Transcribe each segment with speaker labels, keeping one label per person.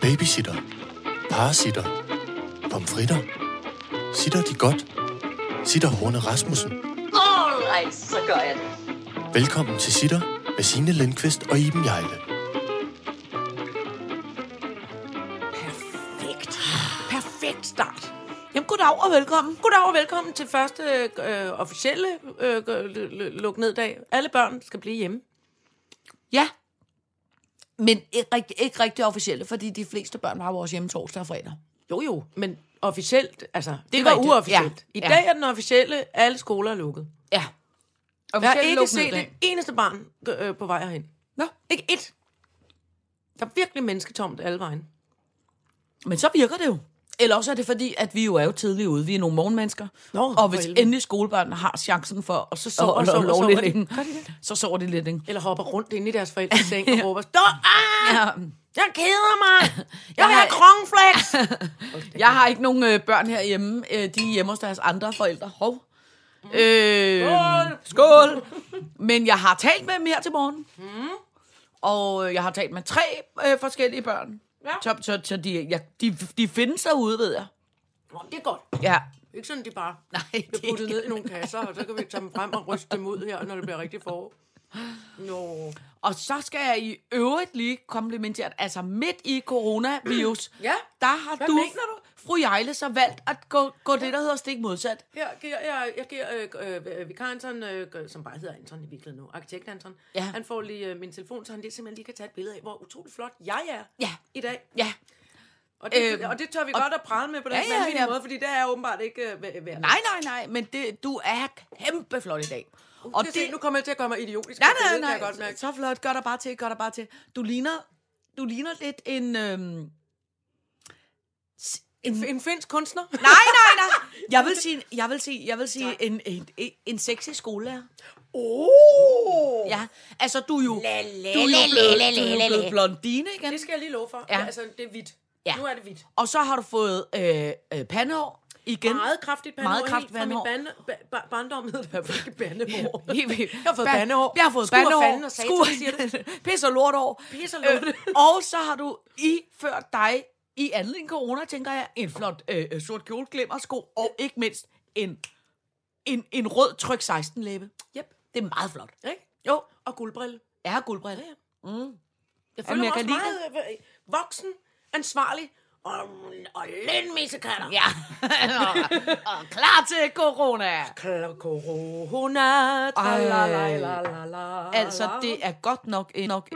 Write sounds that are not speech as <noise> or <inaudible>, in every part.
Speaker 1: Babysitter. Parasitter. Pomfritter. Sitter de godt? Sitter Horne Rasmussen.
Speaker 2: Alright, så gør jeg det.
Speaker 1: Velkommen til Sitter med Signe Lindqvist og Iben Jejle.
Speaker 3: Perfekt. Perfekt start. Jamen, goddag og velkommen. Goddag og velkommen til første øh, officielle øh, luk ned dag. Alle børn skal blive hjemme.
Speaker 4: Ja. Men ikke, rigt- ikke rigtig officielle, fordi de fleste børn har vores hjemme torsdag og fredag.
Speaker 3: Jo, jo, men officielt, altså, det,
Speaker 4: er
Speaker 3: det var
Speaker 4: rigtigt.
Speaker 3: uofficielt.
Speaker 4: Ja.
Speaker 3: I
Speaker 4: Ja.
Speaker 3: dag er den officielle, alle skoler er lukket.
Speaker 4: Ja. Og
Speaker 3: Jeg har ikke set et eneste barn øh, på vej herhen.
Speaker 4: Nå.
Speaker 3: Ikke et. Der er virkelig mennesketomt alle vejen.
Speaker 4: Men så virker det jo. Eller også er det fordi, at vi jo er jo tidligt ude. Vi er nogle morgenmennesker.
Speaker 3: Nå,
Speaker 4: og
Speaker 3: for
Speaker 4: hvis
Speaker 3: helvede.
Speaker 4: endelig skolebørnene har chancen for, og så
Speaker 3: sover,
Speaker 4: sover, og, og,
Speaker 3: sover,
Speaker 4: og,
Speaker 3: sover
Speaker 4: og, lidt
Speaker 3: de.
Speaker 4: længe,
Speaker 3: Gør de det?
Speaker 4: så sover de lidt længe.
Speaker 3: Eller hopper rundt inde i deres forældres seng
Speaker 4: <laughs>
Speaker 3: og råber, Stå, ah,
Speaker 4: Ja.
Speaker 3: jeg keder
Speaker 4: <laughs>
Speaker 3: mig. Jeg vil
Speaker 4: har-
Speaker 3: have kronflex.
Speaker 4: Jeg har ikke nogen øh, børn herhjemme. Øh, de er hjemme hos deres andre forældre. Hov. Øh,
Speaker 3: Skål!
Speaker 4: <laughs> skål! Men jeg har talt med dem her til morgen. Mm. Og øh, jeg har talt med tre øh, forskellige børn.
Speaker 3: Ja.
Speaker 4: Så, så, så de, jeg, de, de findes derude, ved jeg.
Speaker 3: Nå, det er godt.
Speaker 4: Ja.
Speaker 3: Ikke sådan, de bare
Speaker 4: Nej,
Speaker 3: bliver puttet ned i nogle kasser, og så kan vi tage dem frem og ryste dem ud her, når det bliver rigtig forår. Nå.
Speaker 4: Og så skal jeg i øvrigt lige komplimentere, at altså midt i coronavirus,
Speaker 3: <clears throat> Ja.
Speaker 4: der har
Speaker 3: Hvad
Speaker 4: du,
Speaker 3: mener du?
Speaker 4: fru Jejle, så valgt at gå, gå det, der hedder stik modsat.
Speaker 3: Her giver jeg, jeg giver øh, øh, vikar Anton, øh, g- som bare hedder Anton i virkeligheden nu, arkitekt Anton.
Speaker 4: Ja.
Speaker 3: Han får lige øh, min telefon, så han lige, simpelthen lige kan tage et billede af, hvor utrolig flot jeg er
Speaker 4: Ja.
Speaker 3: i dag.
Speaker 4: Ja.
Speaker 3: Og det,
Speaker 4: Øhm,
Speaker 3: og det tør vi godt at prale med på den
Speaker 4: Ja,
Speaker 3: ja,
Speaker 4: ja,
Speaker 3: ja, ja.
Speaker 4: ja.
Speaker 3: måde, fordi det er åbenbart ikke øh, værd. Nej,
Speaker 4: Nej, nej, nej, men det, du er kæmpe flot i dag.
Speaker 3: og Uh, det, se, nu kommer jeg til at gøre mig idiotisk.
Speaker 4: Nej,
Speaker 3: på
Speaker 4: nej,
Speaker 3: billedet,
Speaker 4: nej.
Speaker 3: kan Jeg godt mærke.
Speaker 4: Så flot. Gør dig bare til, gør dig bare til. Du ligner, du ligner lidt en... Øhm... s- en
Speaker 3: En finsk kunstner.
Speaker 4: nej, nej, nej.
Speaker 3: <laughs>
Speaker 4: Jeg vil sige, jeg vil sige, jeg vil sige en, en, en, en sexy skolelærer.
Speaker 3: Oh!
Speaker 4: Ja, altså du er jo, du er jo blevet, du er jo blevet blondine igen.
Speaker 3: Det skal jeg lige love for.
Speaker 4: Ja.
Speaker 3: Ja. Altså, det er hvidt.
Speaker 4: Ja.
Speaker 3: Nu er det hvidt.
Speaker 4: Og så har du fået øh, øh, pandehår igen.
Speaker 3: Meget kraftigt pandehår.
Speaker 4: Meget
Speaker 3: helt
Speaker 4: kraftigt
Speaker 3: Fra min
Speaker 4: pandehår.
Speaker 3: bande, ba, ba, barndom hed det i hvert fald ikke bandehår.
Speaker 4: <laughs> Helt vildt.
Speaker 3: Jeg har fået
Speaker 4: Ban-
Speaker 3: bandehår.
Speaker 4: Jeg har fået
Speaker 3: Skur og
Speaker 4: bandehår.
Speaker 3: fanden og satan, siger
Speaker 4: det. <laughs> Pis og lortår.
Speaker 3: Pis og lort.
Speaker 4: og så har du iført dig, i anledning af corona, tænker jeg, en flot øh, øh, sort kjole, glimmersko, og ikke mindst en, en, en rød tryk 16-læbe.
Speaker 3: Yep.
Speaker 4: Det er meget flot.
Speaker 3: Ikke? Jo. Og guldbrille.
Speaker 4: Jeg har guldbrille.
Speaker 3: Ja, ja.
Speaker 4: Mm.
Speaker 3: Jeg
Speaker 4: Jamen,
Speaker 3: føler
Speaker 4: jeg
Speaker 3: mig
Speaker 4: kan
Speaker 3: også <laughs> meget øh, voksen, ansvarlig og, og lindmissekatter.
Speaker 4: Ja. <laughs> og, og klar til corona.
Speaker 3: Corona,
Speaker 4: Ej.
Speaker 3: tralalalala.
Speaker 4: Altså, det er godt nok... en- nok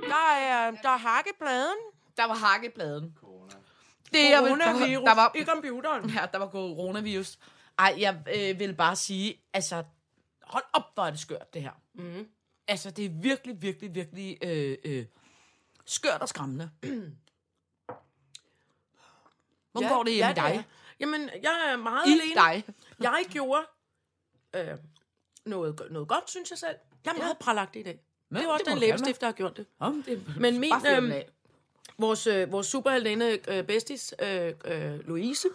Speaker 3: Der er, der er hakkepladen.
Speaker 4: der var hakkepladen. Det, jeg vil,
Speaker 3: Coronavirus
Speaker 4: der var,
Speaker 3: i computeren.
Speaker 4: <laughs> Ja, der var coronavirus. Ej, jeg øh, vil bare sige, altså, hold op, hvor er det skørt, det her. Mm. Altså, det er virkelig, virkelig, virkelig øh, øh, skørt og <clears throat> skræmmende. Hvordan ja, går det hjemme ja,
Speaker 3: er.
Speaker 4: dig?
Speaker 3: Jamen, jeg er meget
Speaker 4: I
Speaker 3: alene.
Speaker 4: dig?
Speaker 3: Jeg gjorde øh, noget, go- noget godt, synes jeg selv. Jeg er meget pralagtig i dag.
Speaker 4: Men
Speaker 3: det er også
Speaker 4: det må
Speaker 3: den
Speaker 4: du gerne
Speaker 3: læbestift, der har gjort det.
Speaker 4: Om det,
Speaker 3: Men min,
Speaker 4: Bare fyr den
Speaker 3: øhm,
Speaker 4: af.
Speaker 3: Vores, øh, vores superheldinde øh, bestis, øh, øh, Louise,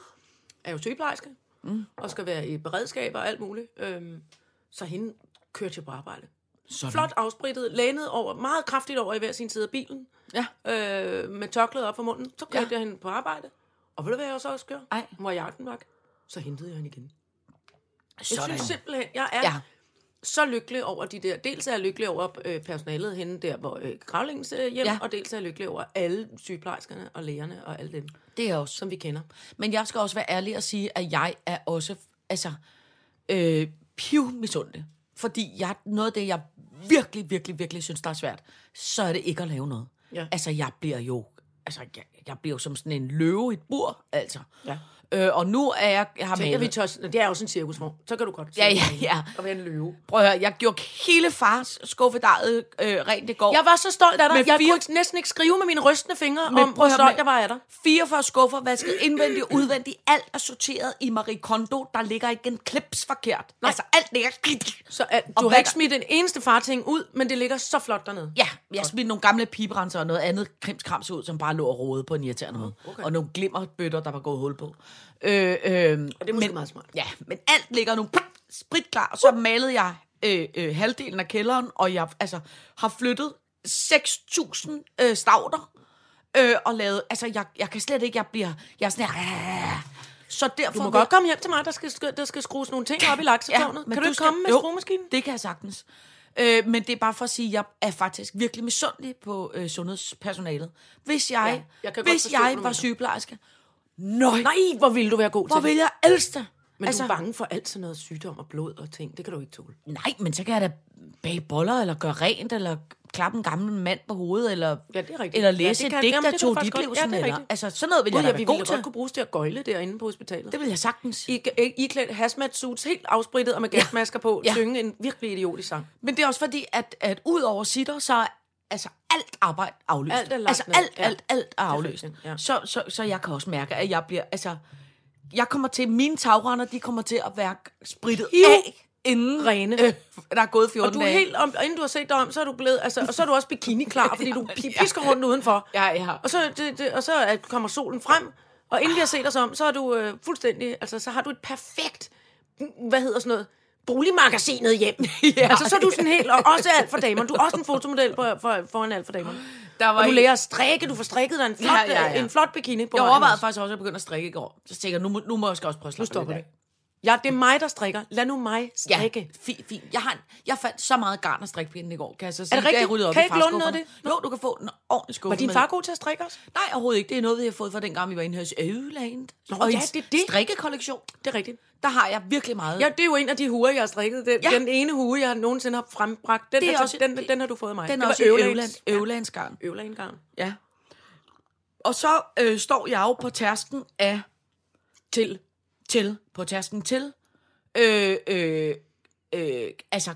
Speaker 3: er jo sygeplejerske. Mm. Og skal være i beredskab og alt muligt. Øhm, så hende kørte jeg på arbejde.
Speaker 4: Sådan.
Speaker 3: Flot afsprittet, lænet over, meget kraftigt over i hver sin side af bilen.
Speaker 4: Ja.
Speaker 3: Øh, med tørklædet op for munden. Så kørte
Speaker 4: Ja.
Speaker 3: ja. jeg hende på arbejde. Og ved du, hvad jeg så også gjorde?
Speaker 4: Ej.
Speaker 3: Hun var i aftenvagt. Så hentede jeg hende igen. Jeg
Speaker 4: Sådan.
Speaker 3: synes simpelthen, jeg er
Speaker 4: Ja.
Speaker 3: ja. så lykkelig over de der. Dels er jeg lykkelig over øh, personalet henne der, hvor øh, Kravlings øh, hjem,
Speaker 4: Ja.
Speaker 3: ja. og dels er jeg lykkelig over alle sygeplejerskerne og lægerne og alle dem,
Speaker 4: Det er jeg også.
Speaker 3: som vi kender.
Speaker 4: Men jeg skal også være ærlig og sige, at jeg er også, altså, øh, piv misundelig. Fordi jeg, noget af det, jeg virkelig, virkelig, virkelig synes, der er svært, så er det ikke at lave noget.
Speaker 3: Ja.
Speaker 4: Altså, jeg bliver jo, altså, jeg, jeg bliver jo som sådan en løve i et bur, altså.
Speaker 3: Ja.
Speaker 4: Øh, og nu er jeg, jeg har
Speaker 3: Tænk, at vi
Speaker 4: malet.
Speaker 3: tør, det er jo sådan en cirkusvogn. Så kan du godt
Speaker 4: Ja,
Speaker 3: se
Speaker 4: ja, ja.
Speaker 3: og være en løve.
Speaker 4: Prøv at høre, jeg gjorde hele fars skuffedejet øh, rent i går.
Speaker 3: Jeg var så stolt af dig. Med
Speaker 4: Med
Speaker 3: jeg
Speaker 4: fire-
Speaker 3: fire... kunne ikke- næsten ikke skrive med mine rystende fingre
Speaker 4: Men
Speaker 3: om,
Speaker 4: prøv
Speaker 3: hvor
Speaker 4: at høre,
Speaker 3: stolt
Speaker 4: med-
Speaker 3: jeg var af dig.
Speaker 4: 44 skuffer, vasket indvendigt, udvendigt, alt er sorteret i Marie Kondo, der ligger ikke en klips forkert. Nej. Altså, alt ligger...
Speaker 3: Så uh,
Speaker 4: Og
Speaker 3: du
Speaker 4: hvad
Speaker 3: har ikke
Speaker 4: der-
Speaker 3: smidt en eneste farting ud, men det ligger så flot dernede.
Speaker 4: Ja, jeg smidte nogle gamle piberenser og noget andet krimskrams ud, som bare lå og rode på en irriterende måde.
Speaker 3: Mm,
Speaker 4: Okay. Og nogle glimmerbøtter, der var gået hul på. Øh, øh,
Speaker 3: Og det er måske meget smart.
Speaker 4: ja, men alt ligger nu pap, spritklar, og så malede jeg øh, øh, halvdelen af kælderen, og jeg altså, har flyttet 6.000 øh, stavter Øh, og lavede, altså, jeg, jeg kan slet ikke, jeg bliver, jeg er sådan her, så derfor...
Speaker 3: Du må godt komme hjem til mig, der skal, sk- der skal skrues nogle ting op i laksetårnet. Ja, kan du, ikke
Speaker 4: skal-
Speaker 3: komme med
Speaker 4: jo,
Speaker 3: skruemaskinen?
Speaker 4: det kan jeg sagtens. Øh, men det er bare for at sige, at jeg er faktisk virkelig misundelig på øh, sundhedspersonalet. Hvis jeg,
Speaker 3: Ja, jeg kan godt
Speaker 4: hvis
Speaker 3: forstå, hvad
Speaker 4: jeg
Speaker 3: du
Speaker 4: var
Speaker 3: mener.
Speaker 4: sygeplejerske, nøj,
Speaker 3: Nej, hvor ville du være god
Speaker 4: hvor
Speaker 3: til
Speaker 4: vil
Speaker 3: det.
Speaker 4: jeg elske det?
Speaker 3: Men altså, du er bange for alt sådan noget sygdom og blod og ting. Det kan du ikke tåle.
Speaker 4: Nej, men så kan jeg da bage boller, eller gøre rent, eller klappe en gammel mand på hovedet, eller,
Speaker 3: Ja, det er rigtigt.
Speaker 4: eller
Speaker 3: Ja, det
Speaker 4: læse
Speaker 3: kan-
Speaker 4: ja, et digt,
Speaker 3: jamen,
Speaker 4: der
Speaker 3: det kan jeg
Speaker 4: tog dit
Speaker 3: faktisk
Speaker 4: liv
Speaker 3: godt- ja,
Speaker 4: sådan
Speaker 3: det er
Speaker 4: eller.
Speaker 3: rigtigt.
Speaker 4: Altså, sådan noget vil
Speaker 3: Gud,
Speaker 4: jeg da
Speaker 3: jeg
Speaker 4: være
Speaker 3: ville
Speaker 4: god
Speaker 3: godt kunne
Speaker 4: til.
Speaker 3: bruges til at gøjle derinde på hospitalet.
Speaker 4: Det vil jeg sagtens.
Speaker 3: I, I, I klædt hazmat suits helt afsprittet og med gasmasker på, ja.
Speaker 4: Ja.
Speaker 3: synge en virkelig idiotisk sang.
Speaker 4: Men det er også fordi, at, at ud over sitter, så er altså alt arbejde aflyst.
Speaker 3: Alt er lagt
Speaker 4: altså
Speaker 3: ned,
Speaker 4: alt,
Speaker 3: ja.
Speaker 4: alt, alt er aflyst.
Speaker 3: rigtigt, ja.
Speaker 4: så, så, så jeg kan også mærke, at jeg bliver, altså, jeg kommer til, mine tagrender, de kommer til at være sprittet
Speaker 3: Piv
Speaker 4: af, inden
Speaker 3: rene.
Speaker 4: Øh, der er gået 14
Speaker 3: Og du er
Speaker 4: dage.
Speaker 3: helt om, og inden du har set dig om, så er du blevet, altså, og så er du også bikini <laughs> klar, fordi du pi- pisker rundt udenfor.
Speaker 4: Ja, ja.
Speaker 3: Og så, det, det, og så er- kommer solen frem, og inden vi har set os om, så er du øh, fuldstændig, altså så har du et perfekt, mm, hvad hedder sådan noget, boligmagasinet hjem. <laughs> ja. Altså så er du sådan helt, og også alt for damer. Du er også en fotomodel for, for, foran alt for damer.
Speaker 4: Der var
Speaker 3: og du
Speaker 4: en-
Speaker 3: lærer at strikke, du får strikket dig en flot, ja, ja, ja. en flot bikini på
Speaker 4: Jeg
Speaker 3: vejen
Speaker 4: overvejede
Speaker 3: også.
Speaker 4: faktisk også at begynde at strikke i går. Så tænker jeg, nu, må- nu må jeg også prøve at slappe
Speaker 3: Nu stopper
Speaker 4: lidt
Speaker 3: det.
Speaker 4: af.
Speaker 3: Ja, det er mig, der strikker. Lad nu mig strikke.
Speaker 4: Ja, fint, fint. Jeg, har en, jeg fandt så meget garn og strikpinde i går, kan jeg så sige.
Speaker 3: det
Speaker 4: Da jeg
Speaker 3: rigtigt?
Speaker 4: ryddede op
Speaker 3: Kan
Speaker 4: i
Speaker 3: jeg ikke låne noget af
Speaker 4: farskufferne. Jo, du kan få en ordentlig skuffe.
Speaker 3: Var din
Speaker 4: med-
Speaker 3: far god til at strikke også?
Speaker 4: Nej, overhovedet ikke. Det er noget, vi har fået fra dengang, vi var inde hos Øland. Nå,
Speaker 3: ja, det er det.
Speaker 4: strikkekollektion,
Speaker 3: Det er rigtigt.
Speaker 4: der har jeg virkelig meget.
Speaker 3: Ja, det er jo en af de huer, jeg har strikket. Den, ja.
Speaker 4: Ja.
Speaker 3: den ene hue, jeg nogensinde har frembragt. Den,
Speaker 4: Det er
Speaker 3: har,
Speaker 4: også-
Speaker 3: den, den har du fået af mig.
Speaker 4: den
Speaker 3: det
Speaker 4: er også i Øland. Ølands garn.
Speaker 3: Øvleindgarn.
Speaker 4: Ja. Og så øh, står jeg jo på tærsken af
Speaker 3: Til.
Speaker 4: til, på tærsken til, øh, øh, øh, altså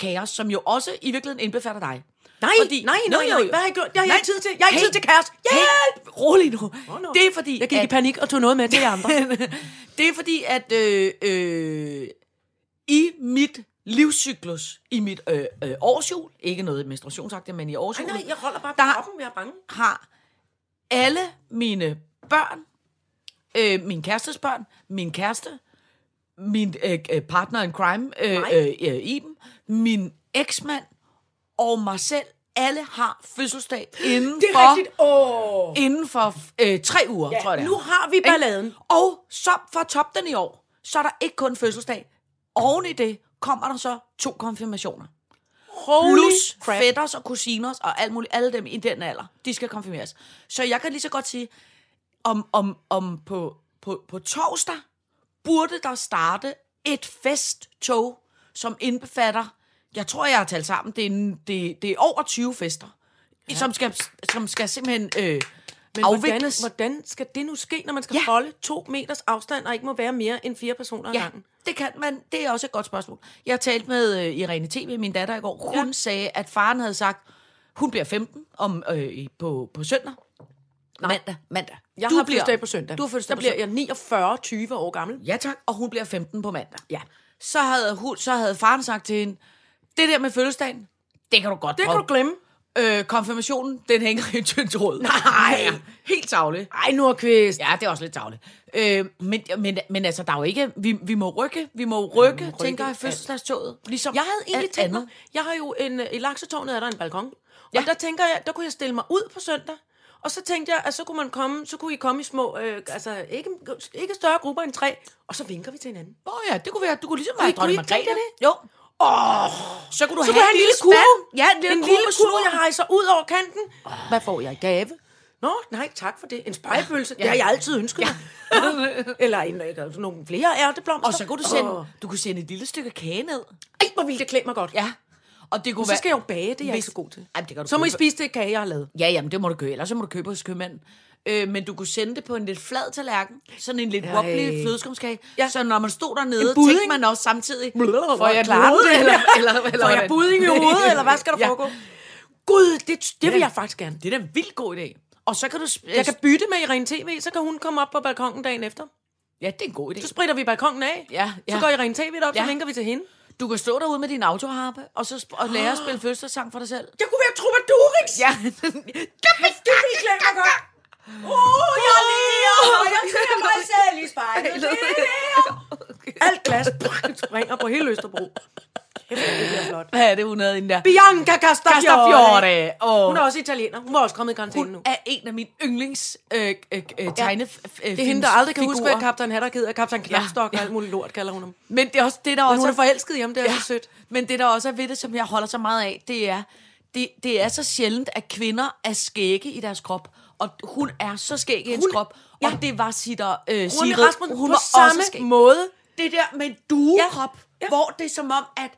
Speaker 4: kaos, som jo også i virkeligheden indbefatter dig.
Speaker 3: Nej, fordi, nej,
Speaker 4: Nå,
Speaker 3: nej,
Speaker 4: jo,
Speaker 3: nej.
Speaker 4: jo.
Speaker 3: Hvad har jeg gjort? Det har jeg
Speaker 4: Nej.
Speaker 3: ikke tid til. Jeg har ikke
Speaker 4: Hey.
Speaker 3: tid til kæreste. Hjælp!
Speaker 4: Helt rolig nu.
Speaker 3: nå.
Speaker 4: Det er fordi,
Speaker 3: Jeg gik i
Speaker 4: at,
Speaker 3: panik og tog noget med til jer andre.
Speaker 4: <laughs> det er fordi, at øh, øh, i mit livscyklus, i mit øh, øh, årsjul, ikke noget menstruationsagtigt, men i årsjulet,
Speaker 3: holder bare
Speaker 4: Der-
Speaker 3: Jeg er bange.
Speaker 4: har alle mine børn, øh, min kærestes børn, min kæreste, min øh, øh, partner in crime, øh, øh, øh, Iben, min eksmand og mig selv, alle har fødselsdag inden
Speaker 3: <gasps> Det er
Speaker 4: for,
Speaker 3: rigtigt. Åh.
Speaker 4: inden for øh, tre uger, ja, tror jeg det er.
Speaker 3: Nu har vi balladen.
Speaker 4: Ikke? Og så for at toppe den i år, så er der ikke kun fødselsdag. Oven i det kommer der så to konfirmationer.
Speaker 3: Holy
Speaker 4: Plus
Speaker 3: crap.
Speaker 4: fætters og kusiners og alt muligt, alle dem i den alder, de skal konfirmeres. Så jeg kan lige så godt sige, om, om, om på, på, på torsdag burde der starte et festtog, som indbefatter, jeg tror, jeg har talt sammen, det er, en- det, det er over 20 fester, ja. som, skal, som skal simpelthen øh,
Speaker 3: Men hvordan,
Speaker 4: afvikles.
Speaker 3: hvordan skal det nu ske, når man skal ja.
Speaker 4: Ja.
Speaker 3: holde to meters afstand og ikke må være mere end fire personer ad
Speaker 4: Ja,
Speaker 3: gangen?
Speaker 4: det kan man. Det er også et godt spørgsmål. Jeg talte med øh, Irene TV, min datter, i går. Hun
Speaker 3: Ja.
Speaker 4: ja. sagde, at faren havde sagt, hun bliver 15 om, øh, i- på, på søndag. Nej. Mandag. mandag.
Speaker 3: Jeg
Speaker 4: du
Speaker 3: har
Speaker 4: bliver-
Speaker 3: fødselsdag på søndag.
Speaker 4: Du har fødselsdag
Speaker 3: Der
Speaker 4: på
Speaker 3: bliver
Speaker 4: søndag.
Speaker 3: jeg 49, 20 år gammel.
Speaker 4: Ja tak, og hun bliver 15 på mandag.
Speaker 3: Ja.
Speaker 4: Så havde, hun, så havde faren sagt til hende, det der med fødselsdagen, det kan du godt
Speaker 3: Det kan du glemme.
Speaker 4: glemme. Øh, konfirmationen, den hænger i en tynd tråd.
Speaker 3: Nej.
Speaker 4: Helt tavligt.
Speaker 3: Ej, nu er quiz.
Speaker 4: Ja, det er også lidt tavligt. Øh, men, men, men altså, der er jo ikke... Vi, vi må rykke, vi må rykke, ja,
Speaker 3: rykke
Speaker 4: rykke tænker jeg,
Speaker 3: alt.
Speaker 4: fødselsdagstoget. Ligesom
Speaker 3: Jeg havde egentlig
Speaker 4: alt
Speaker 3: tænkt mig,
Speaker 4: andet.
Speaker 3: jeg har jo en, øh, i Laksetårnet er der en balkon, og der tænker jeg, der kunne jeg stille mig ud på søndag, og så tænkte jeg, at så kunne man komme, så kunne I komme i små, øh, altså ikke, ikke større grupper end tre, og så vinker vi til hinanden.
Speaker 4: Åh oh, ja, det kunne være, du kunne ligesom være
Speaker 3: Kunne I-
Speaker 4: dronning
Speaker 3: kunne I ikke
Speaker 4: Margrethe.
Speaker 3: tænke
Speaker 4: Jo. Åh, oh, så kunne du
Speaker 3: Så kunne
Speaker 4: have,
Speaker 3: jeg have en lille kurve.
Speaker 4: spand. Ja, en lille
Speaker 3: en
Speaker 4: kurve,
Speaker 3: lille
Speaker 4: med
Speaker 3: kurve,
Speaker 4: snor.
Speaker 3: jeg rejser ud over kanten. Hvad får jeg i gave? Nå, nej, tak for det. En spejpølse, ja. det har jeg altid ønsket ja. mig. Eller en, øh, nogle flere ærteblomster.
Speaker 4: Og så kunne du sende,
Speaker 3: Åh.
Speaker 4: oh. du kunne sende et lille stykke kage ned.
Speaker 3: Ej, hvor ville det klæde mig godt.
Speaker 4: Ja. Og det kunne
Speaker 3: Så
Speaker 4: være...
Speaker 3: skal jeg jo bage, det er jeg
Speaker 4: Hvis-
Speaker 3: ikke så god til.
Speaker 4: Ej, men det kan du
Speaker 3: Så må I
Speaker 4: købe.
Speaker 3: spise det kage, jeg har lavet.
Speaker 4: Ja, jamen det må du gøre, ellers så må du købe hos købmanden. Øh, men du kunne sende det på en lidt flad tallerken, sådan en lidt wobbly flødeskumskage,
Speaker 3: Ja.
Speaker 4: ja. så når man stod dernede,
Speaker 3: En budding.
Speaker 4: tænkte man også samtidig,
Speaker 3: Blablabla.
Speaker 4: får jeg klaret
Speaker 3: Blodet,
Speaker 4: det, eller, eller, eller
Speaker 3: Får jeg
Speaker 4: hvordan?
Speaker 3: budding <laughs> i hovedet, eller hvad skal der
Speaker 4: <laughs> Ja.
Speaker 3: foregå? Gud, det, det vil jeg faktisk gerne.
Speaker 4: Det er da en vildt god idé. Og så kan du... sp-
Speaker 3: Jeg kan bytte med Irene TV, så kan hun komme op på balkongen dagen efter.
Speaker 4: Ja, det er en god idé.
Speaker 3: Så spritter vi balkongen af.
Speaker 4: Ja,
Speaker 3: Så
Speaker 4: ja.
Speaker 3: går Irene TV op, så
Speaker 4: Ja.
Speaker 3: vinker vi til hende.
Speaker 4: Du kan stå derude med din autoharpe, og så sp- og lære at spille fødselsdagssang for dig selv.
Speaker 3: Jeg kunne være Trubadurix.
Speaker 4: <laughs> Ja.
Speaker 3: det ville klæde mig godt. Åh, jeg lever, og jeg ser mig selv i spejlet. Det er det her. Alt glas springer på hele Østerbro. kæft, det bliver flot.
Speaker 4: <laughs> Hvad er det, hun havde inden der?
Speaker 3: Bianca Castafiore.
Speaker 4: Castafiore. Og
Speaker 3: Hun er også italiener. Hun var også kommet i karantæne nu.
Speaker 4: hun er en af mine yndlings øh, øh, øh, tegne, øh,
Speaker 3: Det er hende, der aldrig kan huske, hvad Kaptajn Hatter hedder. Kaptajn Knapstok og alt muligt lort, kalder hun ham.
Speaker 4: Men det er også det, der også
Speaker 3: hun
Speaker 4: er
Speaker 3: er forelsket i ham, det er så sødt.
Speaker 4: Men det, der også er ved det, som jeg holder så meget af, det er, det, det er så sjældent, at kvinder er skægge i deres krop. Og hun er så skæg i hendes
Speaker 3: Hun-
Speaker 4: krop. Ja. Og det var Sitter øh,
Speaker 3: Rune
Speaker 4: Sigrid.
Speaker 3: Rasmussen hun på samme
Speaker 4: skæg.
Speaker 3: måde.
Speaker 4: Det der med en duekrop, ja.
Speaker 3: Ja.
Speaker 4: Ja. hvor det er som om, at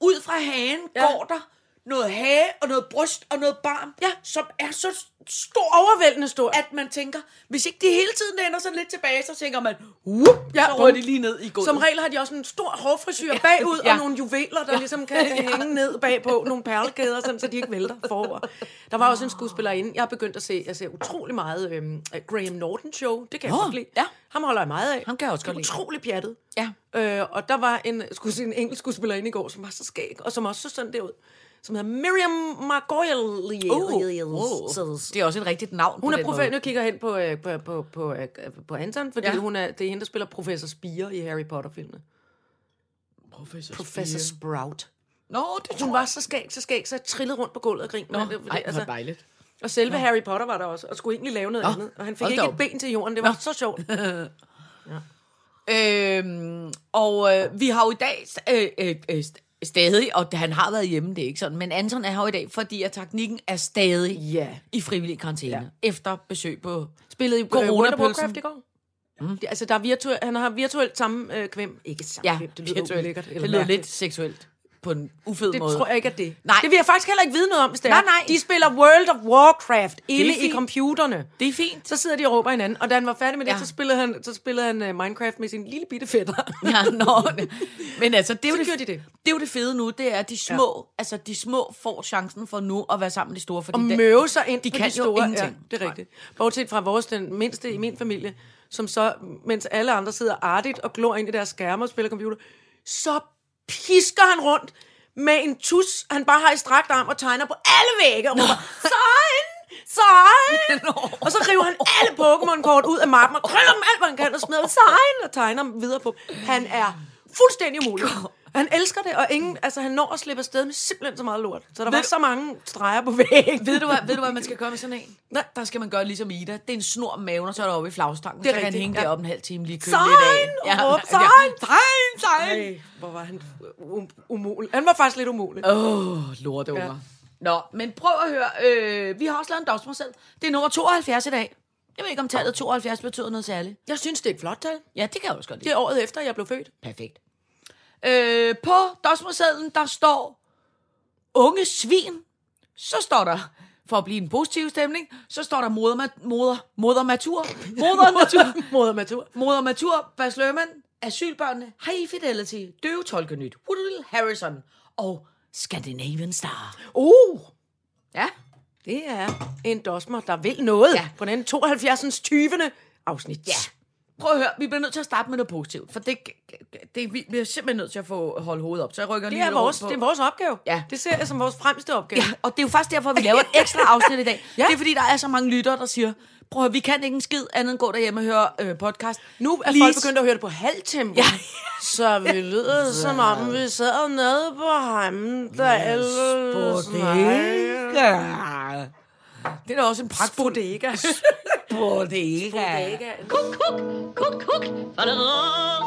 Speaker 4: ud fra hagen ja.
Speaker 3: Ja.
Speaker 4: går der noget hage og noget bryst og noget barm,
Speaker 3: Ja.
Speaker 4: som er så stor
Speaker 3: Overvældende stor.
Speaker 4: at man tænker, hvis ikke de hele tiden ender sådan lidt tilbage, så tænker man, whoop, ja,
Speaker 3: Ja,
Speaker 4: så rører de
Speaker 3: bum.
Speaker 4: lige ned i gulvet.
Speaker 3: Som regel har de også en stor hårfrisyr bagud,
Speaker 4: Ja.
Speaker 3: og nogle juveler, der ligesom
Speaker 4: <laughs>
Speaker 3: kan hænge ned bagpå, nogle perlekæder, sådan, så de ikke vælter forover. Der var også en skuespillerinde, jeg har begyndt at se, jeg ser utrolig meget øhm, Graham Norton show, det kan jeg
Speaker 4: Nå,
Speaker 3: godt lide.
Speaker 4: ja.
Speaker 3: Ham holder jeg meget af.
Speaker 4: Ham kan jeg også
Speaker 3: Det er
Speaker 4: godt lide.
Speaker 3: Utrolig pjattet.
Speaker 4: Ja.
Speaker 3: Øh, og der var en, skulle sige, en engelsk skuespillerinde i går, som var så skæg, og som også så sådan derud, som hedder Miriam Margolyes. Oh.
Speaker 4: Det er også et rigtigt navn
Speaker 3: Hun
Speaker 4: Oh. på
Speaker 3: er
Speaker 4: den
Speaker 3: professor,
Speaker 4: måde.
Speaker 3: nu kigger jeg hen på, øh, på, på, på, øh, på Anton, fordi
Speaker 4: Ja.
Speaker 3: ja. hun er, det er hende, der spiller professor Spire i Harry Potter-filmene.
Speaker 4: Professor,
Speaker 3: Professor Sprout.
Speaker 4: Nå, det
Speaker 3: Hun var så skæg, så skæg, så jeg trillede rundt på gulvet og grinede. Nå, det, fordi, altså,
Speaker 4: dejligt.
Speaker 3: og selve Harry Potter var der også, og skulle egentlig lave noget
Speaker 4: Nå,
Speaker 3: andet. Og han fik
Speaker 4: hold da
Speaker 3: ikke
Speaker 4: op.
Speaker 3: et ben til jorden, det var så sjovt.
Speaker 4: Øhm, og øh, vi har jo i dag øh, øh, øh, st- stadig, og han har været hjemme, det er ikke sådan, men Anton er her jo i dag, fordi at teknikken er stadig
Speaker 3: Ja.
Speaker 4: i frivillig karantæne, efter besøg på
Speaker 3: Spillede i
Speaker 4: Corona-pølsen.
Speaker 3: Corona Warcraft i går. Mm. Det, altså, der er virtuel, han har virtuelt samme øh, kvæm. Ikke samme
Speaker 4: Ja,
Speaker 3: kvæm, det lyder
Speaker 4: virtuelt.
Speaker 3: ulækkert. eller
Speaker 4: Det lyder
Speaker 3: mærkeligt.
Speaker 4: lidt seksuelt på en ufed
Speaker 3: Det
Speaker 4: måde.
Speaker 3: tror jeg ikke, at det.
Speaker 4: Nej.
Speaker 3: Det vil jeg faktisk heller ikke vide noget om, hvis det
Speaker 4: Nej,
Speaker 3: er.
Speaker 4: nej.
Speaker 3: De spiller World of Warcraft inde i
Speaker 4: fint.
Speaker 3: computerne.
Speaker 4: Det er fint. <laughs>
Speaker 3: Så sidder de og råber hinanden, og da han var færdig med det,
Speaker 4: Ja.
Speaker 3: ja. så spillede han, så spillede han uh, Minecraft med sin lille bitte fætter.
Speaker 4: Ja,
Speaker 3: <laughs>
Speaker 4: nå. Men altså, det er, jo
Speaker 3: Så
Speaker 4: det,
Speaker 3: gjorde de det.
Speaker 4: det er jo det fede nu, det er, at de små, ja. altså, de små får chancen for nu at være sammen med de store. Fordi
Speaker 3: og
Speaker 4: det-
Speaker 3: møve sig ind
Speaker 4: de
Speaker 3: de på
Speaker 4: kan
Speaker 3: kan
Speaker 4: jo
Speaker 3: de store.
Speaker 4: ingenting.
Speaker 3: Ja, det er rigtigt. Bortset fra vores, den mindste i min familie, som så, mens alle andre sidder artigt og glor ind i deres skærme og spiller computer, så pisker han rundt med en tus, han bare har i strakt arm og tegner på alle vægge og råber, sådan, sådan.
Speaker 4: <laughs> Nå.
Speaker 3: Og så river han alle Pokémon-kort ud af mappen og krøller dem alt, hvad han kan, og smider dem, sådan, og tegner dem videre på. dem. Han er fuldstændig umulig. Han elsker det, og ingen, altså, han når at slippe afsted med simpelthen så meget lort. Så der var
Speaker 4: du-
Speaker 3: så mange streger på væggen.
Speaker 4: Ved du, hvad, ved du, hvad man skal gøre med sådan en?
Speaker 3: Nej.
Speaker 4: Der skal man gøre ligesom Ida. Det er en snor om maven, og så er der oppe i flagstangen.
Speaker 3: Det er
Speaker 4: så kan han
Speaker 3: rigtigt,
Speaker 4: hænge
Speaker 3: ja.
Speaker 4: ja. deroppe en halv time lige køle lidt af.
Speaker 3: Sein! Ja, råb,
Speaker 4: ja.
Speaker 3: sein!
Speaker 4: Sein! Sein!
Speaker 3: Ej, hvor var han um- umulig. Han var faktisk lidt umulig. Uh.
Speaker 4: Åh, oh, lorteunger. Ja. Nå, men prøv at høre. Øh, vi har også lavet en dagsmorcel. Det er nummer 72 i dag. Jeg ved ikke, om tallet 72 betyder noget særligt.
Speaker 3: Jeg synes, det er et flot tal.
Speaker 4: Ja, det kan jeg også godt lide.
Speaker 3: Det er året efter, jeg blev født.
Speaker 4: Perfekt. Øh, på dosmersedlen, der står unge svin. Så står der, for at blive en positiv stemning, så står der moder, ma- moder, moder matur. Moder natur.
Speaker 3: <laughs> Moder Matur.
Speaker 4: Moder matur, Bas Lerman, asylbørnene, High Fidelity, Døve Tolkenyt, Woodrow Harrison og Scandinavian Star.
Speaker 3: Uh,
Speaker 4: Ja.
Speaker 3: det er en dosmer, der vil noget.
Speaker 4: Ja.
Speaker 3: Ja. På den 72. 20. afsnit.
Speaker 4: Ja. Prøv at høre, vi bliver nødt til at starte med noget positivt, for det, det vi, vi er simpelthen nødt til at få holde hovedet op. Så jeg rykker
Speaker 3: Det
Speaker 4: lige
Speaker 3: er,
Speaker 4: lidt rundt
Speaker 3: vores,
Speaker 4: på.
Speaker 3: det er vores opgave.
Speaker 4: Ja.
Speaker 3: Det ser jeg som vores fremste opgave.
Speaker 4: Ja, og det er jo faktisk derfor, vi laver et ekstra afsnit i dag. <laughs> ja.
Speaker 3: Ja.
Speaker 4: Det er fordi, der er så mange lyttere, der siger, prøv at høre, vi kan ikke en skid andet end gå derhjemme og høre øh, podcast.
Speaker 3: Nu er
Speaker 4: Lige
Speaker 3: folk
Speaker 4: s-
Speaker 3: begyndt at høre det på halvtempo.
Speaker 4: Ja.
Speaker 3: Så vi lyder som om, vi sad nede på Heimdal.
Speaker 4: Bodega. Det er da også en pragtfuld...
Speaker 3: Bodega.
Speaker 4: Bodega.
Speaker 2: Kuk, kuk, kuk, kuk. Badadadada.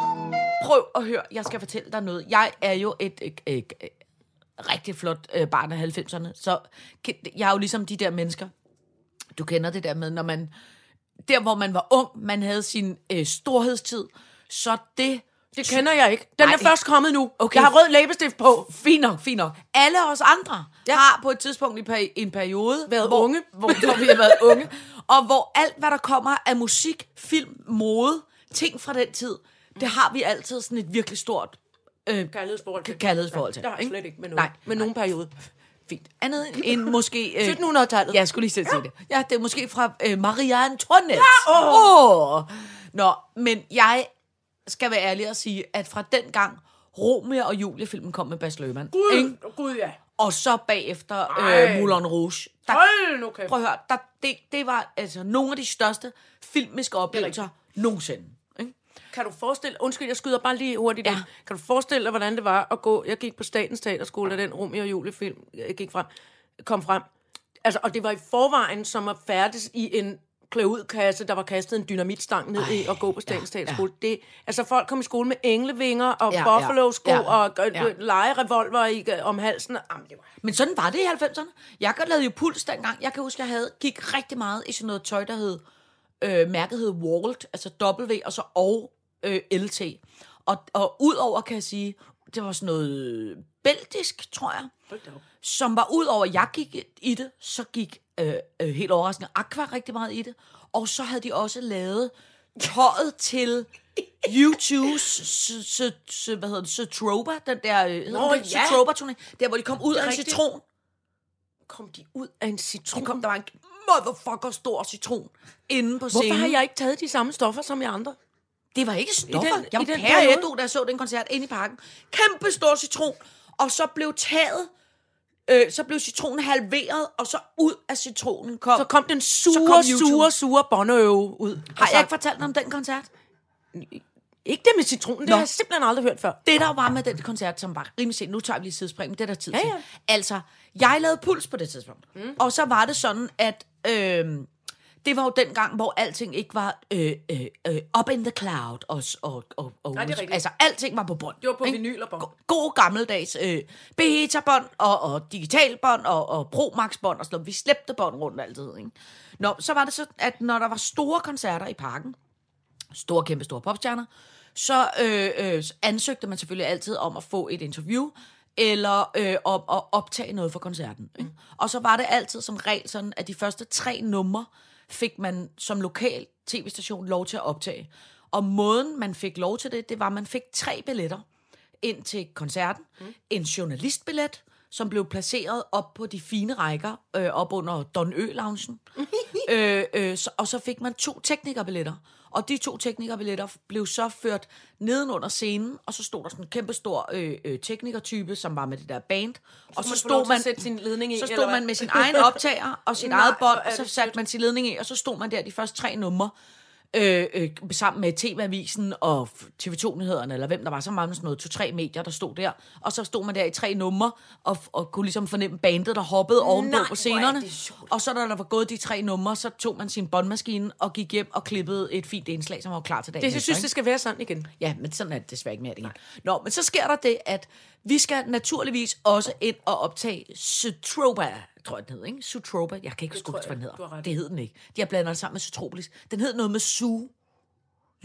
Speaker 4: Prøv at høre, jeg skal fortælle dig noget. Jeg er jo et... et, et, et rigtig flot øh, barn af 90'erne. Så ke- jeg er jo ligesom de der mennesker. Du kender det der med, når man... Der, hvor man var ung, man havde sin øh, storhedstid. Så det
Speaker 3: Det kender jeg ikke. Den
Speaker 4: Nej.
Speaker 3: er først kommet nu.
Speaker 4: Okay.
Speaker 3: Jeg har rød læbestift på.
Speaker 4: Fint nok, fint nok. Alle os andre ja.
Speaker 3: Ja.
Speaker 4: har på et tidspunkt i peri- en periode
Speaker 3: Været
Speaker 4: hvor,
Speaker 3: unge.
Speaker 4: <laughs> Hvor, hvor vi har været unge. Og hvor alt, hvad der kommer af musik, film, mode, ting fra den tid, det har vi altid sådan et virkelig stort øh,
Speaker 3: Kærlighedsforhold til.
Speaker 4: kærlighedsforhold til.
Speaker 3: Der har jeg
Speaker 4: ikke?
Speaker 3: slet ikke med nogen.
Speaker 4: Nej,
Speaker 3: Nej. Med nogen periode.
Speaker 4: fint. Andet end måske... øh,
Speaker 3: 1700-tallet.
Speaker 4: Ja, jeg skulle lige selv sige det. Ja, det er måske fra øh, Maria Antoinette. Ja,
Speaker 3: åh.
Speaker 4: Oh. Nå, men jeg skal være ærlig og sige, at fra den gang Romeo og Julie-filmen kom med Bas Løhmann, ikke?
Speaker 3: Gud ja.
Speaker 4: og så bagefter øh,
Speaker 3: Ej.
Speaker 4: Moulin Rouge. Der,
Speaker 3: Hold nu kæft.
Speaker 4: prøv at høre, der, det, det var altså nogle af de største filmiske oplevelser nogensinde. Ikke?
Speaker 3: Kan du forestille, undskyld, jeg skyder bare lige hurtigt ja. ind. Kan du forestille dig, hvordan det var at gå, jeg gik på Statens Teaterskole, da den Romeo og Julie film jeg gik frem, kom frem. Altså, og det var i forvejen, som at færdes i en kasse, der var kastet en dynamitstang ned i og gå på Statens ja, Teaterskole. Ja. Det, altså, folk kom i skole med englevinger og
Speaker 4: Ja,
Speaker 3: ja,
Speaker 4: ja,
Speaker 3: buffalo-sko ja,
Speaker 4: ja,
Speaker 3: ja. og
Speaker 4: ja.
Speaker 3: ja. legerevolver i, om halsen. Jamen, det var
Speaker 4: Men sådan var det i 90'erne. Jeg lavede jo puls dengang. Jeg kan huske, jeg havde, gik rigtig meget i sådan noget tøj, der hed, øh, mærket hed Walt, altså W, og så og øh, LT. Og, og udover kan jeg sige, det var sådan noget øh, belgisk, tror jeg, som var udover, at jeg gik i det, så gik øh, øh, helt overraskende Aqua rigtig meget i det. Og så havde de også lavet tøjet
Speaker 3: <laughs>
Speaker 4: til YouTube's s- s- s- hvad hedder det, Sotroba, den der, øh, hedder
Speaker 3: Nå,
Speaker 4: den,
Speaker 3: ja.
Speaker 4: Sotroba-turné, der hvor de kom ud af en
Speaker 3: rigtigt.
Speaker 4: citron.
Speaker 3: kom de ud af en citron.
Speaker 4: Kom, der var en motherfucker stor citron inde på scenen.
Speaker 3: Hvorfor har jeg ikke taget de samme stoffer som jeg andre?
Speaker 4: Det var ikke stoffer.
Speaker 3: I den-
Speaker 4: jeg
Speaker 3: i
Speaker 4: var
Speaker 3: den
Speaker 4: pære
Speaker 3: periode?
Speaker 4: ædru, da jeg så den koncert inde i parken. Kæmpe stor citron. Og så blev taget, øh, så blev citronen halveret, og så ud af citronen kom...
Speaker 3: Så kom den
Speaker 4: Så
Speaker 3: sure,
Speaker 4: kom
Speaker 3: kom
Speaker 4: YouTube.
Speaker 3: sure, sure bondeøve ud. Altså,
Speaker 4: har jeg ikke fortalt dig om den koncert?
Speaker 3: Ikke det med citronen, det
Speaker 4: Nå.
Speaker 3: har jeg simpelthen aldrig hørt før.
Speaker 4: det der var med den koncert, som var rimelig sent, nu tager vi lige sidespring, men det er der tid
Speaker 3: Ja,
Speaker 4: til.
Speaker 3: ja.
Speaker 4: Altså, jeg lavede puls på det tidspunkt. Mm. Og så var det sådan, at øh, det var jo den gang, hvor alting ikke var øh, øh, øh, up in the cloud. Og, og, og, og,
Speaker 3: det er rigtigt.
Speaker 4: Altså, alting var på bånd.
Speaker 3: Det var på
Speaker 4: ikke?
Speaker 3: vinyl og bånd.
Speaker 4: Go- God gammeldags øh, beta-bånd og, og digitalbånd og, og Promax-bånd og sådan noget. Vi slæbte bånd rundt altid, ikke? Nå, så var det sådan, at når der var store koncerter i parken, store, kæmpe store popstjerner, så øh, øh, så ansøgte man selvfølgelig altid om at få et interview, eller øh, om at optage noget for koncerten. Ikke? Og så var det altid som regel sådan, at de første tre numre fik man som lokal tv-station lov til at optage. Og måden, man fik lov til det, det var, at man fik tre billetter ind til koncerten. Mm. En journalistbillet, som blev placeret op på de fine rækker, øh, op under Don
Speaker 3: <laughs>
Speaker 4: Ø-loungen. øh, øh, så, og så fik man to teknikerbilletter. Og de to teknikerbilletter blev så ført nedenunder scenen, og så stod der sådan en kæmpe stor øh, øh, teknikertype, som var med det der band. Og så
Speaker 3: man få
Speaker 4: stod
Speaker 3: lov
Speaker 4: man,
Speaker 3: til at sætte sin ledning i,
Speaker 4: så stod
Speaker 3: eller hvad?
Speaker 4: man med sin egen optager og sit eget bånd,
Speaker 3: hvor
Speaker 4: og
Speaker 3: er
Speaker 4: så
Speaker 3: det
Speaker 4: satte man sin ledning i, og så stod man der de første tre numre, øh, øh, sammen med TV-avisen og f- TV2-nyhederne, eller hvem der var, så var man sådan noget, to-tre medier, der stod der. Og så stod man der i tre numre, og, f- og kunne ligesom fornemme bandet, der hoppede ovenpå
Speaker 3: Nej, hvor
Speaker 4: på
Speaker 3: er
Speaker 4: scenerne.
Speaker 3: det sjovt.
Speaker 4: Og så da der var gået de tre numre, så tog man sin båndmaskine og gik hjem og klippede et fint indslag, som var klar til dagen
Speaker 3: <laughs> Det, jeg
Speaker 4: efter,
Speaker 3: synes,
Speaker 4: ikke?
Speaker 3: det skal være sådan igen.
Speaker 4: Ja, men sådan er det desværre ikke mere længere. Nå, men så sker der det, at vi skal naturligvis også ind og optage Sutroba, tror jeg den hed, ikke? Sutroba, jeg kan ikke huske, hvad den
Speaker 3: du har
Speaker 4: hedder.
Speaker 3: ret
Speaker 4: Det hed den ikke. De har blandet den sammen med Sutropolis. Den hed noget med Su.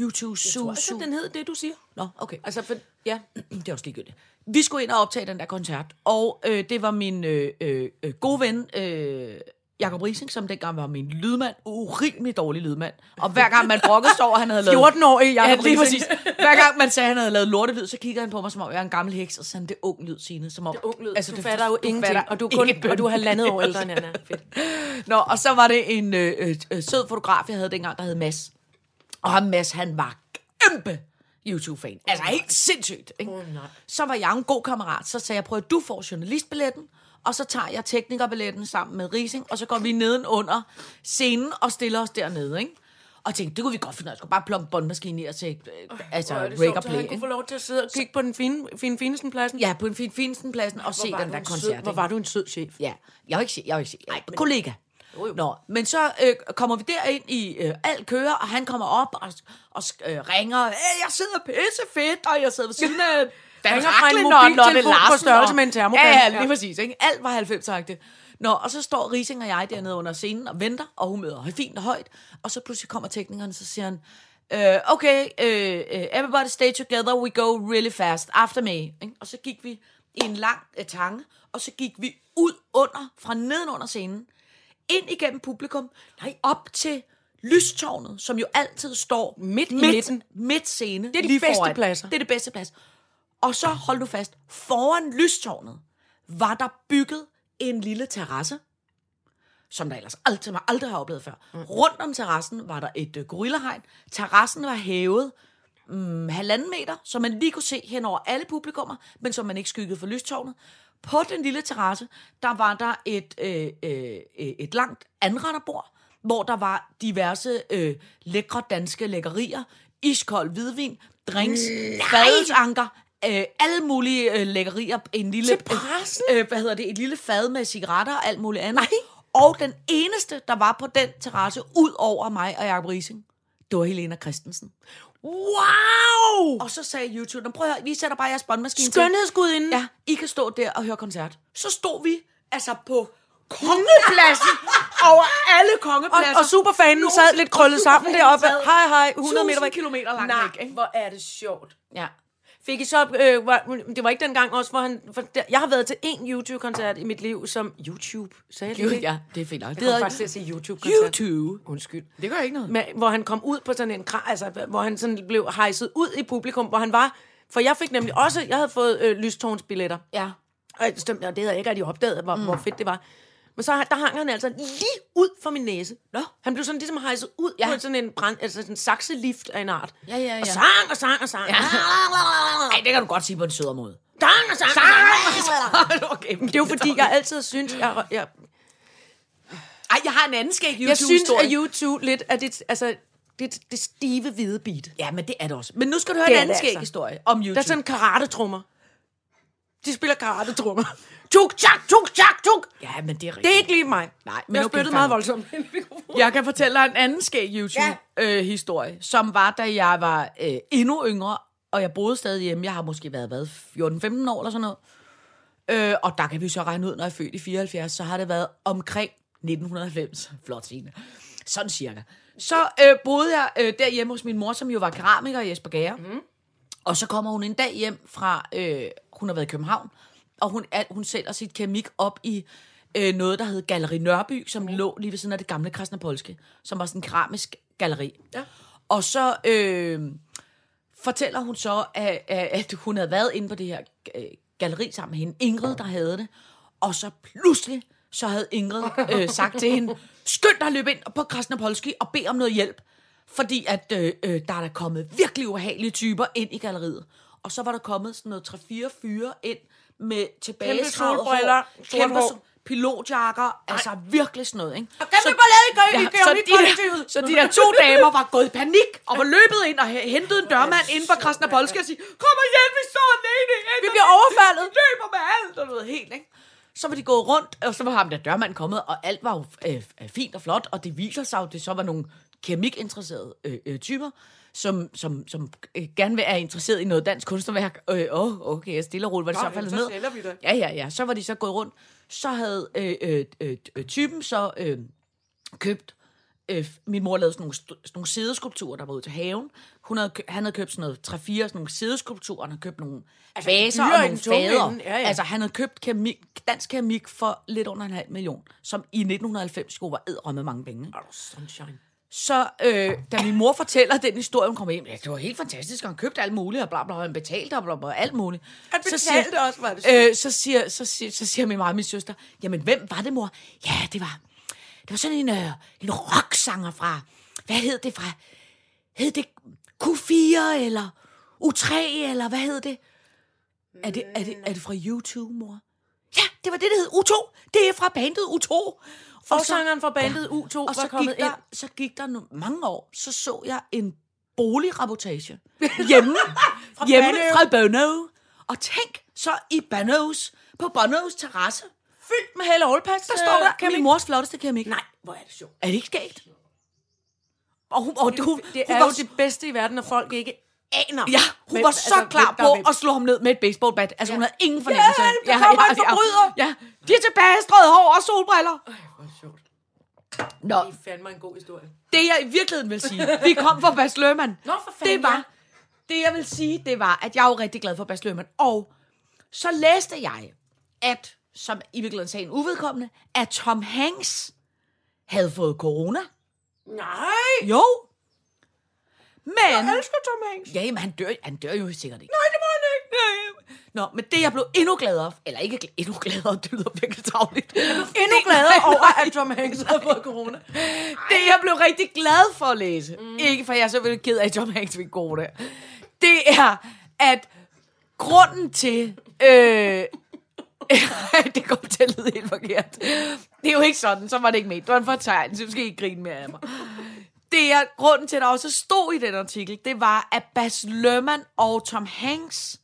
Speaker 4: YouTube Su,
Speaker 3: Altså,
Speaker 4: Su.
Speaker 3: den hed det, du siger.
Speaker 4: Nå, okay.
Speaker 3: Altså, for, ja.
Speaker 4: <clears throat> det er også ligegyldigt. Vi skulle ind og optage den der koncert, og øh, det var min øh, øh, øh, gode ven, øh, Jakob Rising, som dengang var min lydmand, urimelig dårlig lydmand. Og hver gang man brokkede sig over, at
Speaker 3: <laughs>
Speaker 4: han havde lavet...
Speaker 3: 14-årig Jacob
Speaker 4: ja, lige
Speaker 3: Riising.
Speaker 4: præcis. <laughs> Hver gang man sagde, at han havde lavet lortelyd, så kiggede han på mig, som om jeg var en gammel heks, og så sagde han, det er ung lyd, Signe. Som om, det
Speaker 3: Ung lyd. Altså, du, du fatter jo ingenting, og du er, kun, og du er halvandet år ældre end <laughs> Anna. Fedt.
Speaker 4: Nå, og så var det en øh, øh, øh, sød fotograf, jeg havde dengang, der hed Mads. Og ham Mads, han var kæmpe YouTube-fan. Altså helt sindssygt. Ikke? Oh, så var jeg en god kammerat, så sagde jeg, prøv at du får journalistbilletten, og så tager jeg teknikerbilletten sammen med Rising, og så går vi nedenunder scenen og stiller os dernede. Ikke? Og jeg tænkte, det kunne vi godt finde ud af. Jeg skulle bare plumpe båndmaskinen i og se, øh, altså,
Speaker 3: Hvor er det
Speaker 4: break
Speaker 3: sjovt,
Speaker 4: og
Speaker 3: så
Speaker 4: play.
Speaker 3: han kunne
Speaker 4: ikke?
Speaker 3: få lov til at sidde og kigge på den fine, fine fineste pladsen.
Speaker 4: Ja, på en fin, finsten pladsen og se
Speaker 3: Hvor var
Speaker 4: den
Speaker 3: du
Speaker 4: der
Speaker 3: en
Speaker 4: koncert.
Speaker 3: sød-
Speaker 4: ikke?
Speaker 3: Hvor var du en sød chef.
Speaker 4: Ja, jeg var ikke chef, jeg var ikke chef. Nej, men... kollega. Jo, jo. Nå, men så øh, kommer vi derind i øh, alt kører, og han kommer op og, og øh, ringer, "Øh, jeg sidder pisse fedt, og jeg sidder ved siden <laughs> af
Speaker 3: Ringer fra en
Speaker 4: Raklin og
Speaker 3: mobiltelefon
Speaker 4: Lotte
Speaker 3: på
Speaker 4: Larsen
Speaker 3: størrelse
Speaker 4: og-
Speaker 3: med en termokan.
Speaker 4: Ja, ja, lige
Speaker 3: Ja.
Speaker 4: præcis. Ikke? Alt var 90-agtigt. Nå, og så står Rising og jeg dernede under scenen og venter, og hun møder højt fint og højt, og så pludselig kommer teknikeren, så siger han, øh, okay, øh, øh, everybody stay together, we go really fast, after me. Ikke? Og så gik vi i en lang øh, tange, og så gik vi ud under, fra nedenunder scenen, ind igennem publikum, nej, op til lystårnet, som jo altid står
Speaker 3: Midt i midten.
Speaker 4: midt scene.
Speaker 3: Det er de
Speaker 4: lige
Speaker 3: bedste
Speaker 4: foran.
Speaker 3: pladser.
Speaker 4: Det er det bedste plads. Og så hold nu fast, foran lystårnet var der bygget en lille terrasse, som der ellers aldrig, som jeg aldrig har oplevet før. Mm. Rundt om terrassen var der et øh, gorillahegn. Terrassen var hævet mm, halvanden meter, så man lige kunne se hen over alle publikummer, men som man ikke skyggede for lystårnet. På den lille terrasse, der var der et, øh, øh, øh, et langt anretterbord, hvor der var diverse øh, lækre danske lækkerier. iskold hvidvin, drinks, fadelsanker, øh, alle mulige øh, lækkerier, en lille...
Speaker 3: Til pressen?
Speaker 4: Øh, hvad hedder det? Et lille fad med cigaretter og alt muligt andet. Nej. Og den eneste, der var på den terrasse, ud over mig og Jacob Rising, det var Helena Christensen.
Speaker 3: Wow!
Speaker 4: Og så sagde YouTube, "Nå, prøv at høre, vi sætter bare jeres båndmaskine til.
Speaker 3: Skønhedsgudinden.
Speaker 4: Ja, I kan stå der og høre koncert. Så stod vi altså på <laughs> kongepladsen over alle
Speaker 3: Og,
Speaker 4: kongepladser.
Speaker 3: og superfanen sad lidt krøllet sammen deroppe. Hej, hej. 100 meter væk.
Speaker 4: kilometer langt
Speaker 3: Nej,
Speaker 4: væk. Ikke?
Speaker 3: hvor er det sjovt.
Speaker 4: Ja.
Speaker 3: Fik I så, øh, var, det var ikke dengang også, hvor han... For der, jeg har været til én YouTube-koncert i mit liv, som... YouTube, sagde jeg det ikke?
Speaker 4: ja, det er fint nok.
Speaker 3: Jeg kom faktisk til at sige YouTube-koncert.
Speaker 4: YouTube.
Speaker 3: Undskyld.
Speaker 4: Det gør ikke noget.
Speaker 3: Med, hvor han kom ud på sådan en kra, altså hvor han sådan blev hejset ud i publikum, hvor han var... For jeg fik nemlig også, jeg havde fået øh, lystårnsbilletter.
Speaker 4: Ja.
Speaker 3: Og jeg stemte, og det havde jeg ikke rigtig opdaget, hvor, mm. hvor fedt det var. Men så der hang han altså lige ud for min næse.
Speaker 4: Nå.
Speaker 3: Han blev sådan ligesom hejset ud ja.
Speaker 4: Ja.
Speaker 3: på sådan en, brand, altså sådan en sakselift af en art.
Speaker 4: Ja, ja, ja.
Speaker 3: Og sang og sang og sang. Ja.
Speaker 4: Ej, det kan du godt sige på en sødere måde.
Speaker 3: Sang og sang, sang. og sang.
Speaker 4: <laughs> okay.
Speaker 3: Men det er jo fordi, jeg altid har syntes, jeg, jeg,
Speaker 4: Ej, jeg har en anden skæg YouTube
Speaker 3: jeg synes, at YouTube lidt er det, altså, det, det stive hvide beat.
Speaker 4: Ja, men det er det også. Men nu skal du høre
Speaker 3: Det er
Speaker 4: en anden
Speaker 3: det altså.
Speaker 4: skæg historie om YouTube.
Speaker 3: Der er sådan karate-trummer. De spiller karate-trummer. Tuk, tjak, tuk, tjak, tuk.
Speaker 4: Ja, men det er rigtigt.
Speaker 3: Det er ikke lige mig.
Speaker 4: Nej, men
Speaker 3: men jeg
Speaker 4: okay,
Speaker 3: spyttede
Speaker 4: fair
Speaker 3: meget
Speaker 4: nok.
Speaker 3: voldsomt.
Speaker 4: Jeg kan fortælle dig en anden skæg YouTube-historie, ja. øh, historie, som var, da jeg var øh, endnu yngre, og jeg boede stadig hjemme. Jeg har måske været, været 14-15 år eller sådan noget. Øh, og der kan vi så regne ud, når jeg er født i 74, så har det været omkring 1990. Flot, Signe. Sådan cirka. Så øh, boede jeg øh, derhjemme hos min mor, som jo var keramiker i Jesper Gære. Mm. Og så kommer hun en dag hjem fra, øh, hun har været i København, og hun, er, hun sælger sit keramik op i øh, noget, der hed Galleri Nørby, som mm. lå lige ved siden af det gamle Krasnapolske, som var sådan en keramisk galleri. Ja. Og så... Øh, fortæller hun så, at, at at hun havde været inde på det her øh, galleri sammen med hende. Ingrid, der havde det. Og så pludselig, så havde Ingrid
Speaker 3: <laughs>
Speaker 4: øh, sagt til hende, skynd dig at løbe ind på Krasnopolski og bed om noget hjælp. Fordi at øh, øh, der er der kommet virkelig ubehagelige typer ind i galleriet. Og så var der kommet sådan noget 3-4 fyre ind med tilbagestraget
Speaker 3: solbriller,
Speaker 4: hår,
Speaker 3: sort
Speaker 4: kæmpe
Speaker 3: hår.
Speaker 4: sol- pilotjakker, altså virkelig sådan noget, ikke?
Speaker 3: Og kæmpe ballade i gang- i
Speaker 4: så,
Speaker 3: Georgi
Speaker 4: de der,
Speaker 3: Kollektivet.
Speaker 4: så de der to damer var gået i panik og var løbet ind og h- hentet en dørmand inden for Krasnapolsk og sige, kom og hjælp, vi står alene. Vi
Speaker 3: bliver overfaldet."
Speaker 4: Vi løber med alt og noget helt, ikke? Så var de gået rundt, og så var ham der dørmand kommet, og alt var jo øh, øh, fint og flot, og det viser sig jo, at det så var nogle keramikinteresserede øh, øh, typer, som, som, som øh, gerne vil være interesseret i noget dansk kunstnerværk. Åh, øh, åh, okay, stille og roligt var det
Speaker 3: Nå,
Speaker 4: så faldet
Speaker 3: jamen,
Speaker 4: ned.
Speaker 3: så sælger vi det.
Speaker 4: Ja, ja, ja. Så var de så gået rundt. Så havde øh, øh, øh, øh, typen så øh, købt... Øh, min mor lavede sådan nogle, st- sådan nogle sædeskulpturer, der var ude til haven. Hun havde, kø- han havde købt sådan noget 3-4 sådan nogle sædeskulpturer. Han havde købt nogle altså, vaser og
Speaker 3: dyrere
Speaker 4: nogle
Speaker 3: end tunge
Speaker 4: fader.
Speaker 3: ende. Ja, ja.
Speaker 4: Altså, han havde købt keramik, dansk keramik for lidt under en halv million, som i 1990 jo var edderrømme mange penge. ikke?
Speaker 3: Sunshine.
Speaker 4: Så øh, da min mor fortæller den historie, hun kommer hjem, ja, det var helt fantastisk, og han købte alt muligt, og bla bla, og han betalte, og bla bla, alt muligt.
Speaker 3: Han
Speaker 4: Så
Speaker 3: betalte
Speaker 4: siger-
Speaker 3: også, var det
Speaker 4: øh, så, siger, så, siger, så siger min mor og min søster, jamen hvem var det, mor? Ja, det var, det var sådan en, øh, en rocksanger fra, hvad hed det fra, hed det Q4, eller U3, eller hvad hed det? Er det, er det, er det fra YouTube, mor? Ja, det var det, der hed U2. Det er fra bandet U2. Og så-
Speaker 3: Forsangeren fra bandet U2
Speaker 4: og
Speaker 3: var
Speaker 4: så
Speaker 3: kommet
Speaker 4: gik, der,
Speaker 3: ind.
Speaker 4: så gik der no- mange år, så så jeg en boligrapportage
Speaker 3: <laughs>
Speaker 4: hjemme, fra, hjemme
Speaker 3: Banø.
Speaker 4: fra Bono. Og tænk, så i Bonos, på Bonos terrasse,
Speaker 3: Fyldt med Helle øh, Aalpas.
Speaker 4: der står der min mors flotteste keramik.
Speaker 3: Nej, hvor er det sjovt.
Speaker 4: Er det ikke skægt? Og hun, og det, hun,
Speaker 3: Det
Speaker 4: hun
Speaker 3: er
Speaker 4: var,
Speaker 3: jo det bedste i verden, når folk ikke aner.
Speaker 4: Ja, hun
Speaker 3: hvem-
Speaker 4: var så
Speaker 3: altså,
Speaker 4: klar
Speaker 3: hvem der er hvem.
Speaker 4: på at slå ham ned med et baseballbat. Altså, ja. hun havde ingen fornemmelse.
Speaker 3: Hjælp, der kommer en forbryder!
Speaker 4: Ja, de er tilbage, strøget hår og solbriller.
Speaker 3: Hvor er det sjovt.
Speaker 4: Nå,
Speaker 3: Det er fandme en god historie.
Speaker 4: det jeg i virkeligheden vil sige, vi kom fra Bas Løhmann.
Speaker 3: Nå, for fanden,
Speaker 4: det var, det jeg vil sige, det var, at jeg er jo rigtig glad for Bas Løhmann. Og så læste jeg, at, som i virkeligheden sagde en uvedkommende, at Tom Hanks havde fået corona.
Speaker 3: Nej,
Speaker 4: Jo. Men...
Speaker 3: jeg elsker Tom Hanks.
Speaker 4: Ja, men han dør, han dør jo sikkert ikke.
Speaker 3: Nej, det må han ikke.
Speaker 4: Nå, men det jeg blev endnu gladere, for- eller ikke gl- endnu gladere, det lyder virkelig tavligt.
Speaker 3: Endnu
Speaker 4: Det-
Speaker 3: gladere <laughs>
Speaker 4: nej,
Speaker 3: over,
Speaker 4: nej.
Speaker 3: at Tom
Speaker 4: <laughs>
Speaker 3: Hanks har <laughs> fået corona.
Speaker 4: Det jeg blev rigtig glad for at læse, mm. ikke for jeg er selvfølgelig ked af, at Tom Hanks fik corona, det er, at grunden til, øh, <laughs> det kom til at lyde helt forkert. Det er jo ikke sådan, så var det ikke med. Det var en fortegnelse, så skal I ikke grine mere af mig. Det er grunden til, at der også stod i den artikel, det var, at Bas Lerman og Tom Hanks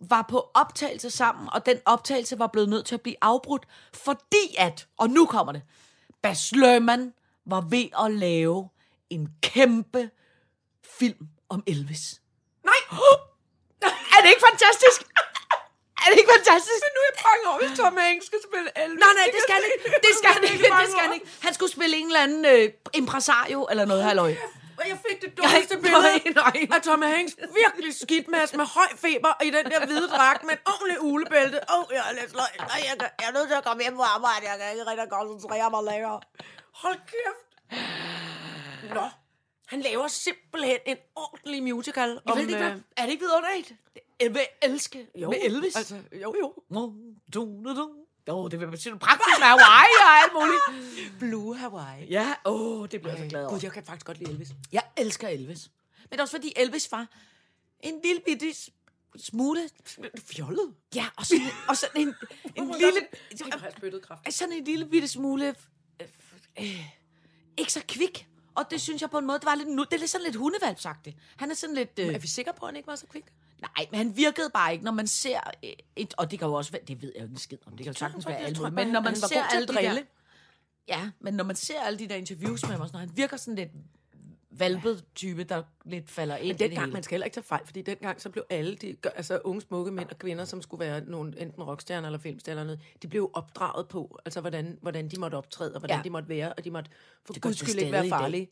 Speaker 4: var på optagelse sammen, og den optagelse var blevet nødt til at blive afbrudt, fordi at, og nu kommer det, Bas Lerman var ved at lave en kæmpe film om Elvis. Nej! Er det ikke fantastisk? Er det ikke fantastisk? Men nu er jeg bange over, hvis Tom Hanks skal spille Elvis. Nej, nej, det skal han ikke. Det skal han ikke. Det skal han ikke. Han skulle spille en eller anden øh, impresario eller noget halløj.
Speaker 3: Og <laughs> jeg fik det dummeste
Speaker 4: Nej,
Speaker 3: billede
Speaker 4: nej, nej.
Speaker 3: af Tom Hanks. Virkelig skidt med, med høj feber i den der hvide dragt med en ordentlig ulebælte. Åh, oh, jeg er lidt sløj. Nej, jeg, kan- jeg er nødt til at komme hjem på arbejde. Jeg kan ikke rigtig koncentrere mig længere. Hold kæft. Nå, han laver simpelthen en ordentlig musical.
Speaker 4: Jeg ved det ikke, hvad- øh, er det ikke vidunderligt? Jeg vil elske jo, med Elvis.
Speaker 3: Altså, jo, jo.
Speaker 4: Nå, du, du, du. Åh, det vil betyde praktisk med Hawaii og alt muligt.
Speaker 3: Blue Hawaii.
Speaker 4: Ja, åh, det bliver jeg så glad over.
Speaker 3: Gud, jeg kan faktisk godt lide Elvis.
Speaker 4: Jeg elsker Elvis. Men det er også fordi Elvis var en lille bitte s- smule...
Speaker 3: Fjollet.
Speaker 4: Ja, og sådan, og sådan <laughs> en, en lille...
Speaker 3: spyttet kraft.
Speaker 4: Sådan en lille bitte smule... øh, Øh, ikke så kvik. Og det synes jeg på en måde, det var lidt... Nu, det er lidt sådan lidt hundevalpsagtigt. Han er sådan lidt... Øh,
Speaker 3: Er vi sikre på, at han ikke var så kvik?
Speaker 4: Nej, men han virkede bare ikke, når man ser øh, et, og det kan jo også være, det ved jeg jo ikke en skid om, det kan jo sagtens være
Speaker 3: jeg
Speaker 4: alt
Speaker 3: tror
Speaker 4: muligt,
Speaker 3: bare,
Speaker 4: men når
Speaker 3: han-
Speaker 4: man
Speaker 3: han var
Speaker 4: ser
Speaker 3: god til at
Speaker 4: alle de der,
Speaker 3: drille.
Speaker 4: ja, men når man ser alle de der interviews med ham, og sådan, noget, han virker sådan lidt valpet type, der lidt falder ind i det
Speaker 3: Dengang,
Speaker 4: hele.
Speaker 3: man skal heller ikke tage fejl, fordi dengang så blev alle de gør- altså, unge, smukke mænd og kvinder, som skulle være nogle, enten rockstjerner eller filmstjerner eller noget, de blev jo opdraget på, altså hvordan, hvordan de måtte optræde, og hvordan ja.
Speaker 4: Ja.
Speaker 3: de måtte være, og de måtte for
Speaker 4: gør de
Speaker 3: guds skyld ikke være
Speaker 4: stadig i dag.
Speaker 3: farlige.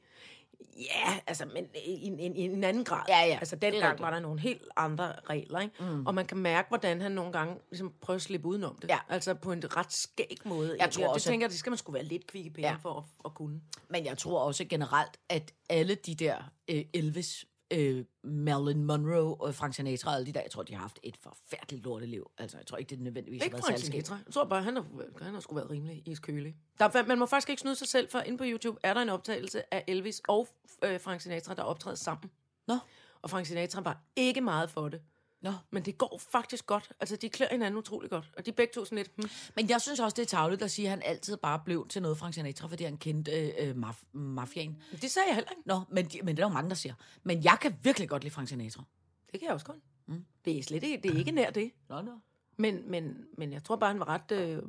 Speaker 3: Ja, altså, men i, en- en- i en anden grad.
Speaker 4: Ja, ja,
Speaker 3: Altså,
Speaker 4: det er
Speaker 3: dengang
Speaker 4: rigtigt.
Speaker 3: var der nogle helt andre regler, ikke? Mm. Og man kan mærke, hvordan han nogle gange ligesom prøver at slippe udenom det.
Speaker 4: Ja.
Speaker 3: Altså, på en ret skæg måde. egentlig. Og
Speaker 4: tror
Speaker 3: det
Speaker 4: også, at-
Speaker 3: tænker, jeg, det skal man skulle være lidt kvik i penge ja.
Speaker 4: Ja.
Speaker 3: for at, at kunne.
Speaker 4: Men jeg tror også generelt, at alle de der øh, Elvis, øh, Marilyn Monroe og Frank Sinatra, alle de der, jeg tror, de har haft et forfærdeligt lorteliv. Altså, jeg tror ikke, det nødvendigvis
Speaker 3: Ikke
Speaker 4: har
Speaker 3: Frank
Speaker 4: været særlig skidt.
Speaker 3: Sinatra. Jeg tror bare, han har, han har sgu været rimelig iskølig. Der, er- man må faktisk ikke snyde sig selv, for inde på YouTube er der en optagelse af Elvis og øh, Frank Sinatra, der optræder sammen.
Speaker 4: Nå,
Speaker 3: Og Frank Sinatra var ikke meget for det.
Speaker 4: nå.
Speaker 3: Men det går faktisk godt. Altså, de klør hinanden utrolig godt. Og de er begge to sådan lidt... Hmm.
Speaker 4: Men jeg synes også, det er tavligt at sige, at han altid bare blev til noget Frank Sinatra, fordi han kendte øh, øh, maf- mafiaen.
Speaker 3: Det sagde jeg heller ikke.
Speaker 4: Nå, men, de, men det er der jo mange, der siger. Men jeg kan virkelig godt lide Frank Sinatra.
Speaker 3: Det kan jeg også godt. Mm. Det er slet ikke, det er ikke nær det.
Speaker 4: Nå, nå.
Speaker 3: Men, men, men jeg tror bare, han var ret... Øh,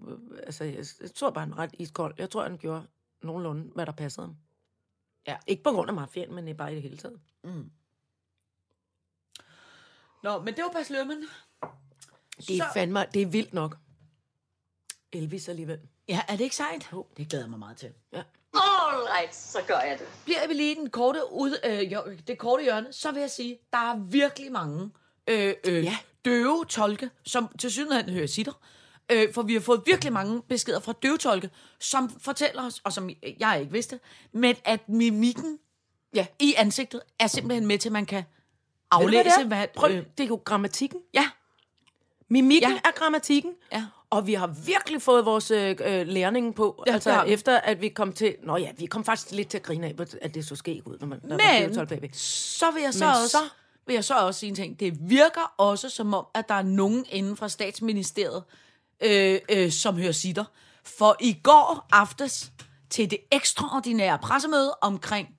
Speaker 3: altså, jeg, jeg tror bare, han var ret iskold. Jeg tror, han gjorde nogenlunde, hvad der passede ham.
Speaker 4: Ja.
Speaker 3: Ikke på grund af mafiaen, men øh, bare i det hele taget.
Speaker 4: Nå, men det var Bas Lømmen.
Speaker 3: Det er
Speaker 4: Så-
Speaker 3: fandme, det er vildt nok. Elvis alligevel.
Speaker 4: Ja, er det ikke sejt? Jo. Det glæder jeg mig meget til.
Speaker 2: Alright, så gør jeg det.
Speaker 4: Bliver vi lige i den korte ud, øh, hjør- det korte hjørne, så vil jeg sige, der er virkelig mange øh, øh,
Speaker 3: Ja.
Speaker 4: ja. døve tolke, som til synligheden hører sitter. Øh, for vi har fået virkelig mange beskeder fra døvetolke, som fortæller os, og som jeg ikke vidste, men at mimikken ja. i ansigtet er simpelthen med til, at man kan
Speaker 3: Ved du,
Speaker 4: aflæse,
Speaker 3: hvad det er?
Speaker 4: hvad... øh,
Speaker 3: Prøv, det er jo grammatikken.
Speaker 4: ja,
Speaker 3: Mimikken ja.
Speaker 4: Ja.
Speaker 3: er grammatikken.
Speaker 4: Ja.
Speaker 3: Og vi har virkelig fået vores øh, øh, lærning på, ja,
Speaker 4: Ja, det
Speaker 3: altså
Speaker 4: har vi.
Speaker 3: efter at vi kom til... Nå ja, vi kom faktisk lidt til at grine af, at det så skæg ud, når man når
Speaker 4: Men-
Speaker 3: man blev 12 baby.
Speaker 4: så vil jeg så
Speaker 3: Men
Speaker 4: også,
Speaker 3: så-
Speaker 4: så vil jeg så også sige en ting. Det virker også som om, at der er nogen inden fra statsministeriet, øh, øh, som hører sitter. For i går aftes til det ekstraordinære pressemøde omkring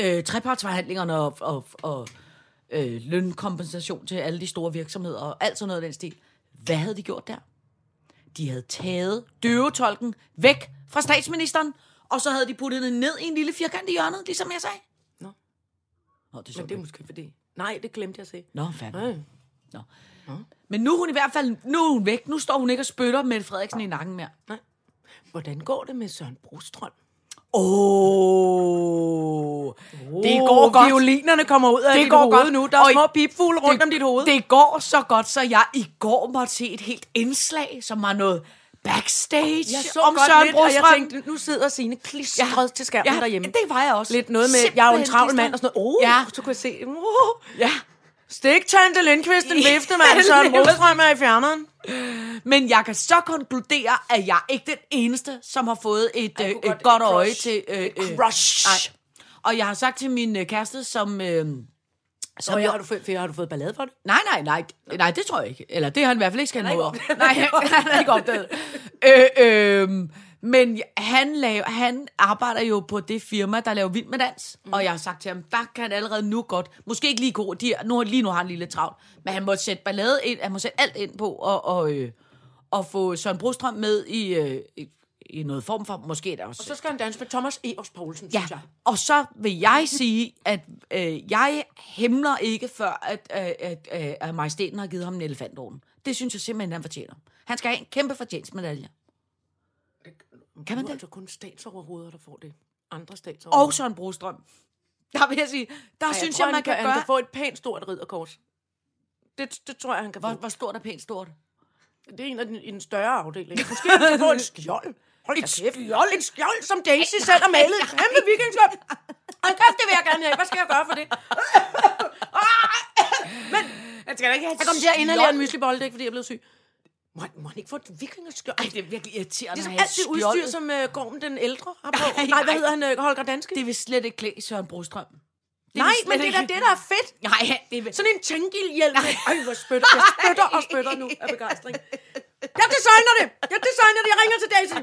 Speaker 4: øh, trepartsforhandlingerne og, og, og øh, lønkompensation til alle de store virksomheder og alt sådan noget af den stil. Hvad havde de gjort der? De havde taget døvetolken væk fra statsministeren, og så havde de puttet den ned i en lille firkant i hjørnet, ligesom jeg sagde.
Speaker 3: Nå.
Speaker 4: Nå, det så
Speaker 3: Men
Speaker 4: du
Speaker 3: det er måske fordi... Nej, det glemte jeg at se.
Speaker 4: Nå, fanden.
Speaker 3: Nej.
Speaker 4: Nå. Men nu er hun i hvert fald nu er hun væk. Nu står hun ikke og spytter med Frederiksen i nakken mere.
Speaker 3: Hvordan går det med Søren Brostrøm?
Speaker 4: Åh, oh, det går
Speaker 3: Åh,
Speaker 4: godt.
Speaker 3: Violinerne kommer ud af
Speaker 4: Det
Speaker 3: dit
Speaker 4: går
Speaker 3: hoved
Speaker 4: godt.
Speaker 3: nu. Der er
Speaker 4: Og i-
Speaker 3: små pipfugle rundt om dit hoved.
Speaker 4: Det går så godt, så jeg i går måtte se et helt indslag, som var noget backstage
Speaker 3: jeg så
Speaker 4: om
Speaker 3: om godt
Speaker 4: Søren
Speaker 3: lidt, og
Speaker 4: Brostrøm.
Speaker 3: jeg tænkte, nu sidder Signe klistret ja. til skærmen ja. derhjemme.
Speaker 4: Det var jeg også.
Speaker 3: Lidt noget med, jeg er jo en
Speaker 4: Simpelthen
Speaker 3: travl mand
Speaker 4: klistret.
Speaker 3: og sådan noget. Oh, ja.
Speaker 4: Ja.
Speaker 3: så kunne jeg se. Oh.
Speaker 4: Ja,
Speaker 3: Stik Tante Lindqvist, den
Speaker 4: Ja,
Speaker 3: vifte <laughs> mand, Søren
Speaker 4: det var-
Speaker 3: Brostrøm er i fjerneren.
Speaker 4: Men jeg kan så konkludere, at jeg er ikke den eneste, som har fået et, øh,
Speaker 3: kunne godt-
Speaker 4: et
Speaker 3: et
Speaker 4: godt,
Speaker 3: crush.
Speaker 4: øje til... Øh, øh,
Speaker 3: crush.
Speaker 4: nej. Og jeg har sagt til min øh, kæreste, som... Øh, som
Speaker 3: Og
Speaker 4: jeg-
Speaker 3: har du, fået, har du fået ballade for det?
Speaker 4: Nej, nej, nej, nej, det tror jeg ikke. Eller det har han i hvert fald ikke skændt
Speaker 3: Han
Speaker 4: mig
Speaker 3: har
Speaker 4: over.
Speaker 3: ikke
Speaker 4: Nej, han har ikke opdaget. øh, øh, Men han, laver, han arbejder jo på det firma, der laver Vild med Dans. Mm. Og jeg har sagt til ham, der kan han allerede nu godt. Måske ikke lige god, de, nu, lige nu har han lige lidt travlt. Men han må sætte ballade ind, han må sætte alt ind på. Og, og, øh, og få Søren Brostrøm med i, øh, i, i noget form for, måske der også.
Speaker 3: Så skal han danse med Thomas Evers Poulsen,
Speaker 4: Ja,
Speaker 3: synes jeg.
Speaker 4: og så vil jeg sige, at øh, jeg hemmer ikke før, at, øh, at, øh, at majestæten har givet ham en elefantorden. Det synes jeg simpelthen, han fortjener. Han skal have en kæmpe fortjenstmedalje. Kan man
Speaker 3: Nu er
Speaker 4: det?
Speaker 3: altså kun statsoverhoveder, der får det. Andre statsoverhoveder.
Speaker 4: Og Søren Brostrøm. Der vil jeg sige, der Ej,
Speaker 3: Ej,
Speaker 4: synes
Speaker 3: tror,
Speaker 4: jeg, man
Speaker 3: han
Speaker 4: kan,
Speaker 3: han
Speaker 4: gøre...
Speaker 3: kan få et pænt stort ridderkors. Det, det tror jeg, han kan få.
Speaker 4: Hvor, hvor stort er pænt stort?
Speaker 3: Det er en af den, i den større <laughs> afdeling. Måske han kan få et skjold. Hold et kæft. skjold? Et skjold, som Daisy selv har <laughs> malet. Et kæmpe vikingskjold. Hold kæft, det vil jeg gerne have. Hvad skal jeg gøre for det?
Speaker 4: Jeg skal da ikke have
Speaker 3: Jeg kom til at inhalere en myslibolle, det er ikke, fordi jeg blev syg. Må, han- må han ikke få et vikingskjold?
Speaker 4: Ej, det er virkelig irriterende
Speaker 3: Ligesom
Speaker 4: at have
Speaker 3: alt det udstyr,
Speaker 4: skjoldet.
Speaker 3: som uh, Gorm den ældre har på.
Speaker 4: Nej,
Speaker 3: <laughs> Nej, nej hvad
Speaker 4: nej.
Speaker 3: hedder han? øh, Holger Danske?
Speaker 4: Det vil slet ikke klæde Søren Brostrøm. Det
Speaker 3: nej, men det er da det, der er fedt.
Speaker 4: Nej, det vil...
Speaker 3: Sådan en tænkildhjelm. Ej, hvor spytter. Jeg spytter og spytter nu af <laughs> begejstring. Jeg designer det. Jeg designer det. Jeg ringer til Daisy.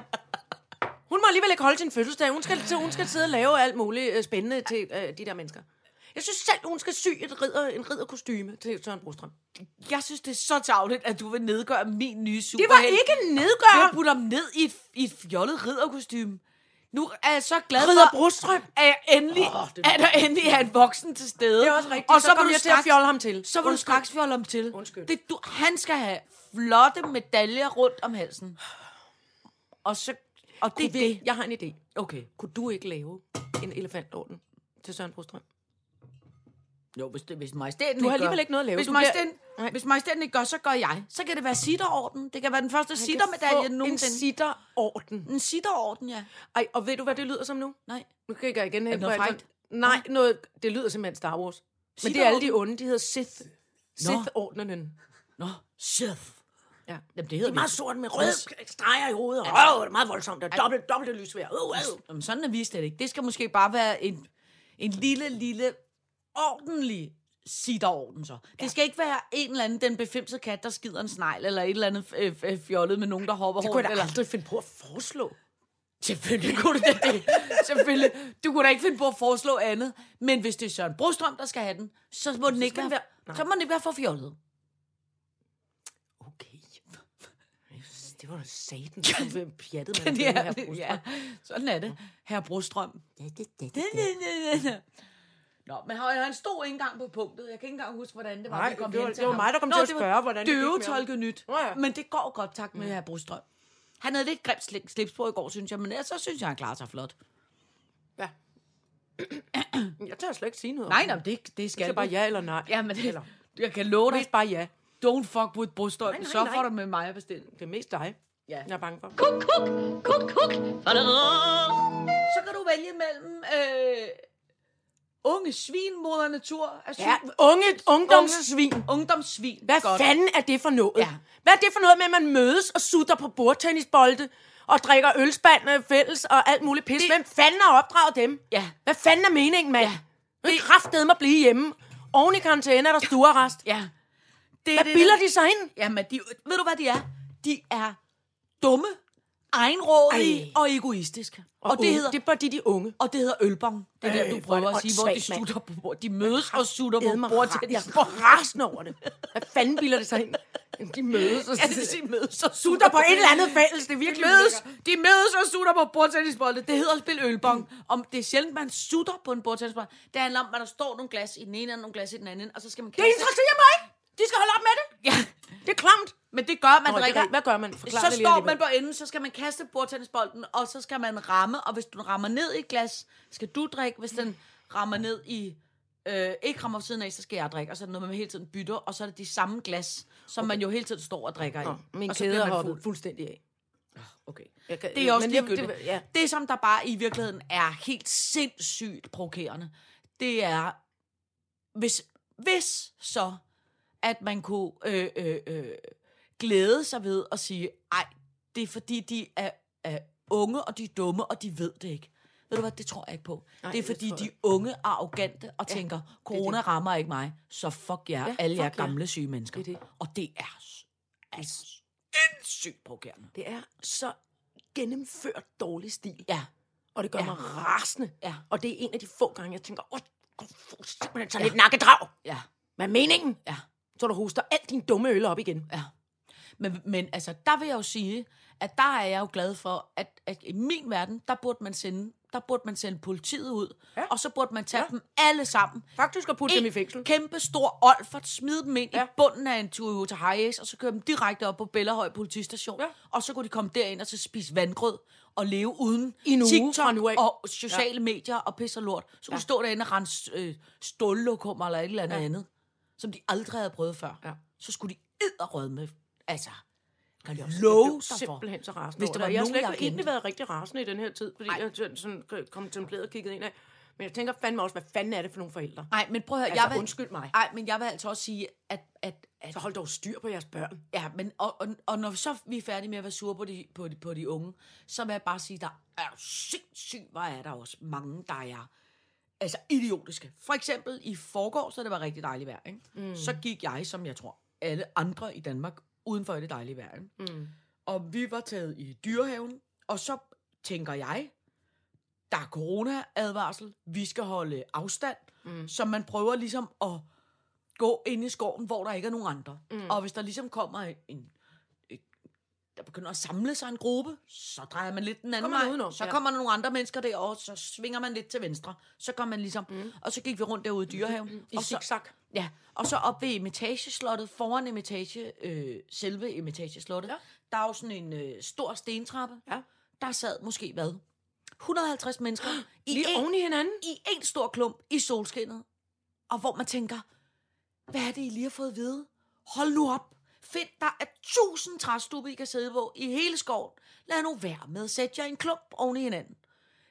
Speaker 3: Hun må alligevel ikke holde sin fødselsdag. Hun skal, hun skal sidde og lave alt muligt øh, spændende til øh, de der mennesker. Jeg synes selv, hun skal sy et ridder, en ridderkostyme til Søren Brostrøm.
Speaker 4: Jeg synes, det er så tavligt, at du vil nedgøre min nye
Speaker 3: Det var
Speaker 4: superhelt.
Speaker 3: ikke
Speaker 4: Jeg har
Speaker 3: nedgør.
Speaker 4: puttet ham ned i et, i et fjollet ridderkostume. Nu er jeg så glad
Speaker 3: Ridder
Speaker 4: for,
Speaker 3: Brostrøm.
Speaker 4: at, jeg endelig,
Speaker 3: Åh,
Speaker 4: oh,
Speaker 3: det-
Speaker 4: at der endelig er en voksen til stede.
Speaker 3: Det er også rigtigt.
Speaker 4: Og så,
Speaker 3: så
Speaker 4: vil
Speaker 3: kommer
Speaker 4: du
Speaker 3: jeg til at
Speaker 4: straks-
Speaker 3: fjolle ham til.
Speaker 4: Så vil du
Speaker 3: Undskyld.
Speaker 4: straks fjolle ham til.
Speaker 3: Undskyld.
Speaker 4: Det, du, han skal have flotte medaljer rundt om halsen. Og, så, og det er
Speaker 3: Kunne vi-
Speaker 4: det.
Speaker 3: Jeg har en idé.
Speaker 4: Okay.
Speaker 3: Kunne du ikke lave en elefantorden til Søren Brostrøm?
Speaker 4: Jo, hvis, det, hvis majestæten
Speaker 3: Du har
Speaker 4: ikke gør-
Speaker 3: alligevel ikke noget at lave.
Speaker 4: Hvis
Speaker 3: Du bliver-
Speaker 4: majestæten,
Speaker 3: Nej.
Speaker 4: hvis majestæten ikke gør, så gør jeg. Så kan det være sitterorden. Det kan være den første sittermedalje
Speaker 3: En
Speaker 4: nogensinde.
Speaker 3: sitterorden.
Speaker 4: en sitterorden, ja.
Speaker 3: Ej, og ved du, hvad det lyder som nu?
Speaker 4: Nej.
Speaker 3: Nu kigger jeg igen hen
Speaker 4: noget
Speaker 3: på alt
Speaker 4: frækt?
Speaker 3: sådan- Nej, noget, det lyder simpelthen Star Wars. Men det er alle de onde, de hedder Sith. Sith-ordenen.
Speaker 4: Nå, Sith.
Speaker 3: Ja.
Speaker 4: Jamen, det
Speaker 3: Det
Speaker 4: hedder
Speaker 3: er meget
Speaker 4: vi.
Speaker 3: sort med røde streger i hovedet. Og, åh, det er meget voldsomt. Og dobbelt, dobbelt lysvær. Øh, øh.
Speaker 4: Jamen, sådan er vi slet ikke. Det skal måske bare være en, en lille, lille, ordentlig sitterorden så. Det skal ikke være en eller anden, den befimsede kat, der skider en snegl, eller et eller andet øh, øh, fjollet med nogen, der hopper
Speaker 3: Det kunne
Speaker 4: rundt.
Speaker 3: jeg da
Speaker 4: eller...
Speaker 3: aldrig finde på at foreslå.
Speaker 4: Selvfølgelig kunne du da det. <laughs> Selvfølgelig. Du kunne da ikke finde på at foreslå andet. Men hvis det er Søren Brostrøm, der skal have den, så må, den ikke,
Speaker 3: den
Speaker 4: være,
Speaker 3: være-
Speaker 4: så må den ikke være for fjollet.
Speaker 3: Okay. <laughs> Det var da satan,
Speaker 4: <laughs>
Speaker 3: du pjattede med det
Speaker 4: Ja,
Speaker 3: her poster.
Speaker 4: ja, sådan er det. Herre Brostrøm. Nå, men han, han stod ikke engang på punktet. Jeg kan ikke engang huske, hvordan det var,
Speaker 3: Nej,
Speaker 4: vi kom
Speaker 3: det var-
Speaker 4: hen til
Speaker 3: det var
Speaker 4: ham.
Speaker 3: mig, der kom
Speaker 4: Nå,
Speaker 3: til at
Speaker 4: det var
Speaker 3: spørge, hvordan det gik med ham.
Speaker 4: døvetolket nyt.
Speaker 3: Nå ja.
Speaker 4: Men det går godt, tak med mm. herre Brostrøm. Han havde lidt grimt sli- slips på i går, synes jeg, men ellers så synes jeg, han klarer sig flot.
Speaker 3: Ja. <clears throat> Jeg tør slet ikke sige noget. om
Speaker 4: Nej,
Speaker 3: det.
Speaker 4: nej, det, det
Speaker 3: Det
Speaker 4: skal
Speaker 3: er bare ja eller nej.
Speaker 4: Ja, men det,
Speaker 3: Eller-
Speaker 4: jeg kan love dig,
Speaker 3: Mest bare ja.
Speaker 4: don't fuck with Brostrøm,
Speaker 3: Nej, nej,
Speaker 4: så
Speaker 3: nej.
Speaker 4: får du med mig at bestille.
Speaker 3: Det er mest dig,
Speaker 4: Ja.
Speaker 3: jeg er bange for.
Speaker 2: Kuk, kuk, kuk, kuk, faderå.
Speaker 4: Så kan du vælge mellem øh, unge svin, moder natur, asyl,
Speaker 3: Ja, unge, ungdomssvin.
Speaker 4: ungdomssvin.
Speaker 3: Hvad godt. fanden er det for noget?
Speaker 4: Ja.
Speaker 3: Hvad er det for noget med, at man mødes og sutter på bordtennisbolde og drikker ølspand øh, fælles og alt muligt pis? Det... Hvem fanden har opdraget dem?
Speaker 4: Ja.
Speaker 3: Hvad fanden er meningen, mand? Ja. Det er kraftedeme at blive hjemme. Oven i karantæne er der stuerrest.
Speaker 4: Ja. Det,
Speaker 3: Hvad bilder de sig ind?
Speaker 4: Jamen, de, ved du, hvad de er? De er dumme, egenrådige
Speaker 3: Ej.
Speaker 4: og egoistiske. Og, og, det, hedder,
Speaker 3: det er bare de, de unge.
Speaker 4: og det hedder ølbong. Det er
Speaker 3: Ej,
Speaker 4: der, du
Speaker 3: hvor er
Speaker 4: prøver
Speaker 3: det
Speaker 4: at sige, hvor de
Speaker 3: åndssvagt, mand.
Speaker 4: sutter på bord. De mødes og sutter <laughs>
Speaker 3: Edmer,
Speaker 4: på bord til
Speaker 3: jeg er rasende over det. Hvad fanden bilder det sig ind? De mødes og
Speaker 4: Ja, det vil
Speaker 3: <laughs>
Speaker 4: sige, mødes og
Speaker 3: sutter på et eller andet fælles. Det er
Speaker 4: De
Speaker 3: virkelig
Speaker 4: mødes,
Speaker 3: ulækkert.
Speaker 4: de mødes og sutter på bordtennisbolde. Det hedder at spille ølbong.
Speaker 3: Mm.
Speaker 4: Om det er sjældent, man sutter på en bordtennisbold. Det handler om, at der står nogle glas i den ene og nogle glas i den anden, og så skal man
Speaker 3: Det
Speaker 4: kaste.
Speaker 3: interesserer mig ikke. De skal holde op med det.
Speaker 4: Ja,
Speaker 3: Det er klamt.
Speaker 4: men det gør, at
Speaker 3: Nå,
Speaker 4: man
Speaker 3: det er
Speaker 4: drikker.
Speaker 3: rigtigt. Hvad gør man? Forklar
Speaker 4: så
Speaker 3: det lige
Speaker 4: står man
Speaker 3: alligevel.
Speaker 4: på enden, så skal man kaste bordtennisbolden, og så skal man ramme. Og hvis du rammer ned i et glas, skal du drikke. Hvis den rammer ned i... Øh, ikke rammer ved siden af, så skal jeg drikke. Og så er det noget, man hele tiden bytter, og så er det de samme glas, som man jo hele tiden står og drikker i.
Speaker 3: Min
Speaker 4: og så
Speaker 3: kæde
Speaker 4: bliver
Speaker 3: har
Speaker 4: man
Speaker 3: hoppet
Speaker 4: fuld.
Speaker 3: fuldstændig af.
Speaker 4: Okay.
Speaker 3: Jeg kan-
Speaker 4: Det er også
Speaker 3: men jeg-
Speaker 4: ligegyldigt.
Speaker 3: det-
Speaker 4: Det,
Speaker 3: ja.
Speaker 4: ja. det, som der bare i virkeligheden er helt sindssygt provokerende, det er, hvis, hvis så, at man kunne øh, øh, øh, glæde sig ved at sige, ej, det er fordi, de er, er unge, og de er dumme, og de ved det ikke. Ved du hvad, det tror jeg ikke på.
Speaker 3: Nej,
Speaker 4: det er
Speaker 3: det
Speaker 4: fordi,
Speaker 3: tror
Speaker 4: de
Speaker 3: jeg
Speaker 4: er unge og arrogante og ja, tænker, corona det. rammer ikke mig, så fuck jer,
Speaker 3: Ja,
Speaker 4: ja, alle jer
Speaker 3: fuck jer.
Speaker 4: gamle syge mennesker.
Speaker 3: Det er det.
Speaker 4: Og det er s- altså, sindssygt provokerende.
Speaker 3: Det er så gennemført dårlig stil.
Speaker 4: Ja.
Speaker 3: Og det gør ja.
Speaker 4: Ja.
Speaker 3: mig rasende.
Speaker 4: Ja.
Speaker 3: Og det er en af de få gange, jeg tænker, åh, du får simpelthen sådan ja. et nakkedrag.
Speaker 4: Ja.
Speaker 3: Hvad er meningen?
Speaker 4: Ja.
Speaker 3: Så du hoster alt din dumme øl op igen.
Speaker 4: Ja. Men, men altså, der vil jeg jo sige, at der er jeg jo glad for, at, at i min verden, der burde man sende, der burde man sende politiet ud,
Speaker 3: Ja.
Speaker 4: ja. og så burde man tage ja. dem alle sammen.
Speaker 3: Faktisk at putte dem i fængsel.
Speaker 4: kæmpe stor olfert, smide dem ind ja.
Speaker 3: Ja.
Speaker 4: i bunden af en Toyota Hiace, og så køre dem direkte op på Bellerhøj politistation,
Speaker 3: Ja.
Speaker 4: ja. og så kunne de komme derind og så spise vandgrød og leve uden
Speaker 3: I en uge fra
Speaker 4: TikTok
Speaker 3: nu af.
Speaker 4: og sociale ja. medier og pis og lort. Så kunne de stå derinde og rense øh, stållokummer eller et eller andet,
Speaker 3: Ja.
Speaker 4: ja. andet, som de aldrig havde prøvet før.
Speaker 3: Ja.
Speaker 4: Så skulle de edderrød med. Altså, kan jeg
Speaker 3: Jeg
Speaker 4: love
Speaker 3: blev
Speaker 4: dig for.
Speaker 3: simpelthen så rasende.
Speaker 4: Hvis
Speaker 3: over
Speaker 4: der
Speaker 3: det,
Speaker 4: var
Speaker 3: og jeg har
Speaker 4: nogen,
Speaker 3: slet ikke
Speaker 4: jeg kendte.
Speaker 3: egentlig været rigtig rasende i den her tid, fordi Ej.
Speaker 4: Nej.
Speaker 3: jeg sådan- sådan kontempleret og kigget ind af. Men jeg tænker fandme også, hvad fanden er det for nogle forældre?
Speaker 4: Nej, men prøv at høre.
Speaker 3: Altså,
Speaker 4: jeg vil,
Speaker 3: undskyld mig.
Speaker 4: Nej, men jeg vil altså også sige, at, at, at
Speaker 3: Så hold dog styr på jeres børn.
Speaker 4: Ja, men og, og, og når så vi er færdige med at være sure på de, på de, på de unge, så vil jeg bare sige, der er jo sindssygt, hvor er der også mange, der er altså idiotiske. For eksempel i forgårs, da det var rigtig dejligt vejr, ikke? Mm. så gik jeg, som jeg tror alle andre i Danmark, uden for det dejlige vejr. Ikke?
Speaker 3: Mm.
Speaker 4: Og vi var taget i dyrehaven, og så tænker jeg, der er corona-advarsel, vi skal holde afstand, mm. så man prøver ligesom at gå ind i skoven, hvor der ikke er nogen andre. Mm. Og hvis der ligesom kommer en, en der begynder at samle sig en gruppe, så drejer man lidt den anden
Speaker 3: Kommer man
Speaker 4: vej,
Speaker 3: udenom,
Speaker 4: så
Speaker 3: ja.
Speaker 4: kommer der nogle andre mennesker derovre, så svinger man lidt til venstre, så går man ligesom, mm. og så gik vi rundt derude i dyrehaven,
Speaker 3: Mm. I
Speaker 4: og så,
Speaker 3: zigzag.
Speaker 4: Ja, og så op ved imitageslottet, foran imitage, øh, selve imitageslottet,
Speaker 3: Ja.
Speaker 4: ja. der er jo sådan en øh, stor stentrappe.
Speaker 3: Ja.
Speaker 4: Der sad måske hvad? 150 mennesker i
Speaker 3: Lige
Speaker 4: en,
Speaker 3: oven i hinanden.
Speaker 4: i en stor klump i solskinnet. Og hvor man tænker, hvad er det, I lige har fået at vide? Hold nu op. Find, der er tusind træstubbe, I kan sidde på i hele skoven. Lad nu være med at sætte jer i en klump oven i hinanden.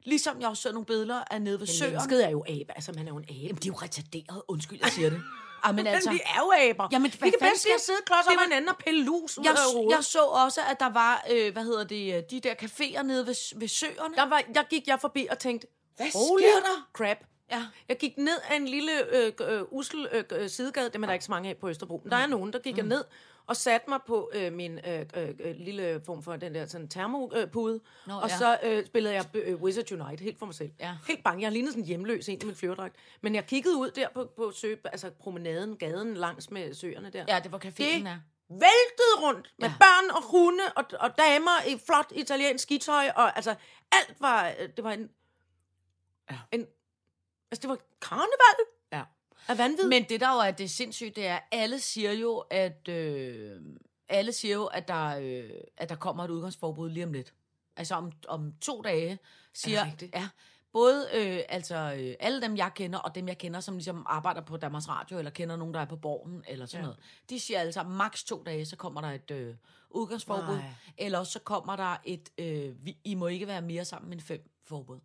Speaker 4: Ligesom jeg også så nogle billeder af nede
Speaker 3: Men
Speaker 4: ved søerne.
Speaker 3: mennesket er jo abe. Altså, man er jo en abe.
Speaker 4: Jamen, de er jo retarderet. Undskyld, jeg <laughs> siger det. Ej, men
Speaker 3: Altså,
Speaker 4: altså,
Speaker 3: men vi er jo aber.
Speaker 4: Jamen,
Speaker 3: vi
Speaker 4: hvad
Speaker 3: kan
Speaker 4: fanden
Speaker 3: bedst lige
Speaker 4: skal-
Speaker 3: sidde klods
Speaker 4: Det
Speaker 3: om
Speaker 4: var-
Speaker 3: hinanden og pille lus ud
Speaker 4: jeg,
Speaker 3: af hovedet.
Speaker 4: jeg så også, at der var, øh, hvad hedder det, øh, de der caféer nede ved, ved søerne.
Speaker 3: Der, var, der gik jeg forbi og tænkte,
Speaker 4: Hvad
Speaker 3: holy
Speaker 4: sker der?
Speaker 3: crap.
Speaker 4: Ja.
Speaker 3: Jeg gik ned ad en lille øh, øh, usel øh, øh, sidegade, dem er der ikke så mange af på Østerbro, men der
Speaker 4: Mm.
Speaker 3: er nogen, der gik jeg ned og satte mig på øh, min øh, øh, øh, lille form for den der sådan termopude, øh, pude.
Speaker 4: Nå,
Speaker 3: og
Speaker 4: ja.
Speaker 3: så øh, spillede jeg øh, Wizard Unite helt for mig selv.
Speaker 4: Ja.
Speaker 3: Helt bange, jeg lignede sådan en hjemløs en i min flyverdragt. Men jeg kiggede ud der på, på sø, altså promenaden, gaden langs med søerne der.
Speaker 4: ja, det var caféen
Speaker 3: Det-
Speaker 4: er.
Speaker 3: væltet rundt med ja.
Speaker 4: Ja.
Speaker 3: børn og hunde og, og damer i flot italiensk skitøj, og altså alt var, øh, det var en,
Speaker 4: Ja.
Speaker 3: en altså det var karneval
Speaker 4: Ja.
Speaker 3: af vanvid.
Speaker 4: Men det der jo er det sindssygt, det er, alle siger jo, at, øh, alle siger jo, at der, øh, at der kommer et udgangsforbud lige om lidt. Altså om, om to dage, siger...
Speaker 3: rigtigt?
Speaker 4: Ja, både øh, altså, øh, alle dem, jeg kender, og dem, jeg kender, som ligesom arbejder på Danmarks Radio, eller kender nogen, der er på borgen, eller sådan
Speaker 3: Ja.
Speaker 4: ja. noget, de siger alle sammen, maks to dage, så kommer der et øh, udgangsforbud,
Speaker 3: Nej.
Speaker 4: Nej. eller også så kommer der et, øh, vi, I må ikke være mere sammen end fem forbud.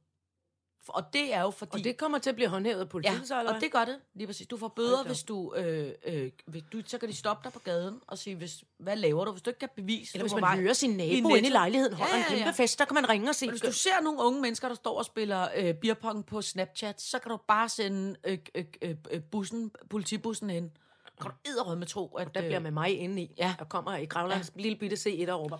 Speaker 4: Og det er jo fordi...
Speaker 3: og det kommer til at blive håndhævet af politiet,
Speaker 4: Ja,
Speaker 3: så, eller
Speaker 4: og det gør det, lige præcis. Du får
Speaker 3: Hold
Speaker 4: bøder,
Speaker 3: da
Speaker 4: hvis du, øh, øh, hvis du... Så kan de stoppe dig på gaden og sige, hvis, hvad laver du, hvis du ikke kan bevise...
Speaker 3: eller
Speaker 4: du
Speaker 3: hvis
Speaker 4: var
Speaker 3: man
Speaker 4: vej-
Speaker 3: hører sin nabo
Speaker 4: Netto.
Speaker 3: inde i lejligheden, holder ja, ja, ja. en kæmpe fest, der kan man ringe og sige,
Speaker 4: Hvis du ser nogle unge mennesker, der står og spiller øh, beerpong på Snapchat, så kan du bare sende øh, øh, øh, øh, bussen, politibussen hen. Kan du edderød med tro, at...
Speaker 3: Mm. der bliver
Speaker 4: øh,
Speaker 3: med mig inde i,
Speaker 4: Ja.
Speaker 3: og kommer i Gravlands ja. lille bitte C1 og råber,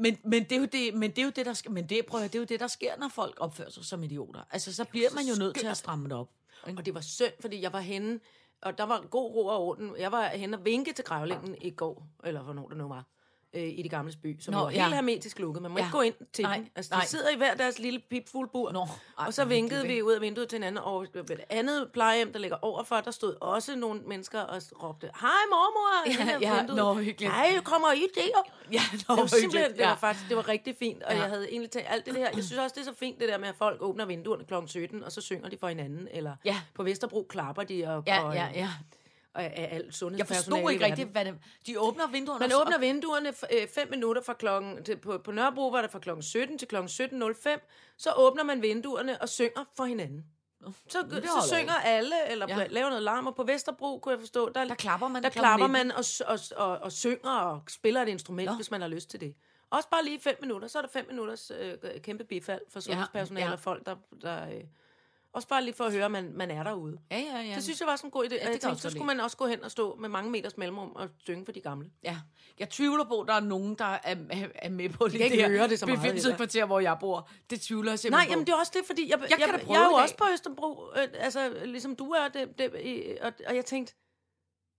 Speaker 4: men, men, det er jo det, men det er jo det, der sker, men det, prøv at, høre, det er jo det, der sker, når folk opfører sig som idioter. Altså, så bliver man jo nødt til at stramme det op. ikke?
Speaker 3: Og det var synd, fordi jeg var henne, og der var god ro og orden. Jeg var henne og vinke til grævlingen i går, eller hvornår det nu var, øh, i det gamle spy, som Nå,
Speaker 4: Nå,
Speaker 3: var helt
Speaker 4: ja.
Speaker 3: hermetisk lukket. Man må
Speaker 4: Ja.
Speaker 3: ikke gå ind til
Speaker 4: Nej,
Speaker 3: den. Altså, de
Speaker 4: nej.
Speaker 3: sidder i hver deres lille pipfulde bur.
Speaker 4: Nå, ej,
Speaker 3: og så
Speaker 4: hvor
Speaker 3: vinkede
Speaker 4: hyggeligt,
Speaker 3: vi
Speaker 4: ikke?
Speaker 3: ud af vinduet til hinanden, og ved et andet plejehjem, der ligger overfor, der stod også nogle mennesker og råbte, hej mormor!
Speaker 4: <laughs> Ja,
Speaker 3: hen ad
Speaker 4: ja,
Speaker 3: vinduet.
Speaker 4: nå, hyggeligt.
Speaker 3: Hej, kommer I der?
Speaker 4: Ja,
Speaker 3: Det var
Speaker 4: hyggeligt,
Speaker 3: simpelthen, det
Speaker 4: ja.
Speaker 3: var faktisk, det var rigtig fint, og ja.
Speaker 4: Ja.
Speaker 3: jeg havde egentlig tænkt alt det der. Jeg synes også, det er så fint, det der med, at folk åbner vinduerne kl. 17, og så synger de for hinanden, eller
Speaker 4: Ja.
Speaker 3: på Vesterbro klapper de, og,
Speaker 4: Ja,
Speaker 3: og,
Speaker 4: ja, ja.
Speaker 3: og, og er alt
Speaker 4: Jeg
Speaker 3: sundhedspersonale
Speaker 4: forstod
Speaker 3: i
Speaker 4: ikke
Speaker 3: verden.
Speaker 4: rigtigt, hvad det... De åbner vinduerne...
Speaker 3: Man
Speaker 4: og-
Speaker 3: åbner vinduerne f- øh, fem minutter fra klokken, til, på, på Nørrebro var det fra klokken 17 til klokken 17.05, så åbner man vinduerne og synger for hinanden. Så, så
Speaker 4: holder
Speaker 3: synger alle, eller ja.
Speaker 4: Ja.
Speaker 3: laver noget larm, og på Vesterbro, kunne jeg forstå, der,
Speaker 4: Der klapper man
Speaker 3: der
Speaker 4: klokken
Speaker 3: klapper
Speaker 4: 19.
Speaker 3: man og, s- og, s- og, og synger og spiller et instrument,
Speaker 4: Nå.
Speaker 3: hvis man har lyst til det. Også bare lige fem minutter, så er der fem minutters øh, kæmpe bifald for sundhedspersonale ja,
Speaker 4: ja.
Speaker 3: og folk, der, der øh, Også bare lige for at høre, at man, man er derude.
Speaker 5: Ja, ja, ja.
Speaker 3: Det synes jeg var sådan en god idé. Ja,
Speaker 5: kan
Speaker 3: jeg
Speaker 5: jeg
Speaker 3: tænkte,
Speaker 5: også
Speaker 3: så
Speaker 5: godt
Speaker 3: skulle
Speaker 5: lide.
Speaker 3: man også gå hen og stå med mange meters mellemrum og synge for de gamle.
Speaker 5: ja.
Speaker 4: Jeg tvivler på, at der er nogen, der er, er, er med på det
Speaker 3: kan ikke
Speaker 4: der
Speaker 3: høre det så meget,
Speaker 4: befimsede
Speaker 3: heller.
Speaker 4: kvarter, hvor jeg bor. Det tvivler
Speaker 3: Nej,
Speaker 4: jeg simpelthen
Speaker 3: jamen
Speaker 4: på.
Speaker 3: det er også det, fordi jeg, jeg,
Speaker 4: kan
Speaker 3: jeg,
Speaker 4: da
Speaker 3: jeg,
Speaker 4: prøve
Speaker 3: jeg er
Speaker 4: i
Speaker 3: jo
Speaker 4: dag.
Speaker 3: også på Østerbro, øh, altså ligesom du er, det, det, i- og, og jeg tænkte,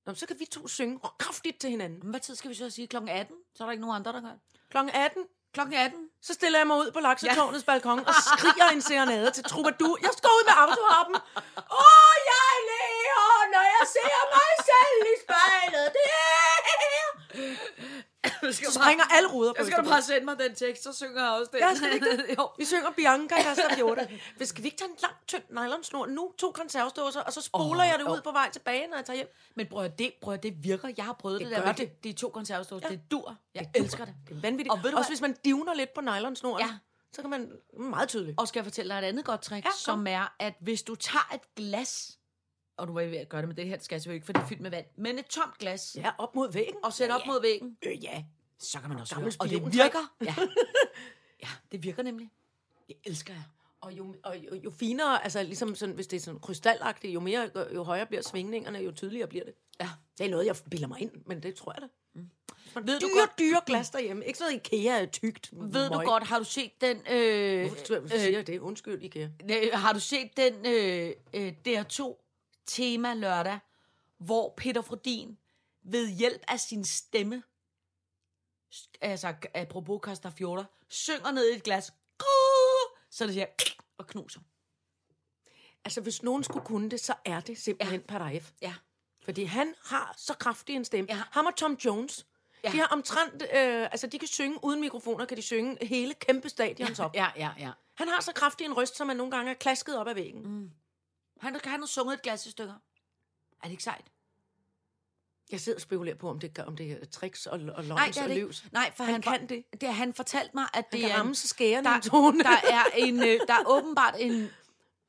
Speaker 3: Nå, men så kan vi to synge kraftigt til hinanden.
Speaker 4: Men Hvad tid skal vi så sige? Klokken 18? Så er der ikke nogen andre, der gør det.
Speaker 3: Klokken 18,
Speaker 4: Klokken
Speaker 3: <laughs>
Speaker 4: 18?
Speaker 3: så stiller jeg mig ud på laksetårnets ja. balkon og skriger en serenade til Troubadour. Jeg skal ud med autoharpen. Åh, oh, jeg lever, når jeg ser mig selv i spejlet. Det
Speaker 4: Skal
Speaker 3: Så springer alle ruder på
Speaker 4: Jeg skal du
Speaker 3: Østerbro.
Speaker 4: bare sende mig den tekst, så synger jeg også den.
Speaker 3: Ja, skal vi <laughs> ikke
Speaker 4: jo.
Speaker 3: Vi synger Bianca Castafiore. Hvis skal vi ikke tage en lang, tynd nylonsnor nu, to konservståser, og så spoler
Speaker 4: Åh,
Speaker 3: oh, jeg det
Speaker 4: jo.
Speaker 3: ud på vej tilbage, når jeg tager hjem.
Speaker 4: Men prøv at det, prøv at det virker. Jeg har prøvet det,
Speaker 3: Det
Speaker 4: det der.
Speaker 3: gør
Speaker 4: med
Speaker 3: det.
Speaker 4: de- De to konservstås, ja. det dur. Jeg
Speaker 3: dur.
Speaker 4: elsker det.
Speaker 3: Det er vanvittigt.
Speaker 4: Og ved du
Speaker 3: Også
Speaker 4: hvad?
Speaker 3: hvis man divner lidt på nylonsnoren,
Speaker 4: Ja.
Speaker 3: ja. så kan man meget tydeligt.
Speaker 4: Og skal jeg fortælle dig et andet godt trick, ja,
Speaker 3: Ja, kom.
Speaker 4: som er, at hvis du tager et glas, og nu var jeg ved at gøre det med det her, det skal jeg selvfølgelig ikke, for det er fyldt med vand, men et tomt glas,
Speaker 3: Ja, op mod væggen.
Speaker 4: og sætter op mod væggen,
Speaker 3: Øh, ja.
Speaker 4: så kan man også
Speaker 3: Gammel
Speaker 4: høre. Og det
Speaker 3: spiontræk.
Speaker 4: virker. <laughs> Ja. ja, det virker nemlig. Det elsker jeg.
Speaker 3: Og jo, og jo, jo finere, altså ligesom sådan, hvis det er sådan krystalagtigt, jo, mere, jo højere bliver svingningerne, jo tydeligere bliver det.
Speaker 4: Ja.
Speaker 3: Det er noget, jeg bilder mig ind, men det tror jeg da. Mm. Ved dyre,
Speaker 4: du
Speaker 3: du
Speaker 4: godt-
Speaker 3: godt? dyre glas derhjemme. Ikke sådan noget IKEA er tykt.
Speaker 4: Ved du godt, har du set den... Øh,
Speaker 3: Hvorfor siger jeg det? Undskyld, IKEA.
Speaker 4: Øh, Har du set den øh, øh, DR2 tema lørdag, hvor Peter Frodin ved hjælp af sin stemme, s- altså k- apropos Costa Fjorder, synger ned i et glas, "Kuh!" så det siger "Klik!" og knuser.
Speaker 3: Altså, hvis nogen skulle kunne det, så er det simpelthen ja. Paraf.
Speaker 4: Ja.
Speaker 3: Fordi han har så kraftig en stemme.
Speaker 4: Ja.
Speaker 3: Ja. Ham og Tom Jones.
Speaker 4: Ja.
Speaker 3: Ja. De har omtrent, øh, altså de kan synge uden mikrofoner, kan de synge hele kæmpe stadions op. Ja.
Speaker 4: Ja, ja, ja.
Speaker 3: Han har så kraftig en røst, som man nogle gange er klasket op ad væggen. Mm.
Speaker 4: Han kan han har sunget et glas i stykker. Er det ikke sejt?
Speaker 3: Jeg sidder og spekulerer på, om det, gør- om det er tricks og, og
Speaker 4: Nej,
Speaker 3: løgns
Speaker 4: det er
Speaker 3: og
Speaker 4: det
Speaker 3: løvs.
Speaker 4: ikke. Nej, for han,
Speaker 3: Han
Speaker 4: for-
Speaker 3: kan det.
Speaker 4: det. Han fortalte mig, at det
Speaker 3: kan
Speaker 4: er... en-
Speaker 3: ramme så skærende
Speaker 4: der,
Speaker 3: en tone.
Speaker 4: der, er en, øh, der er åbenbart en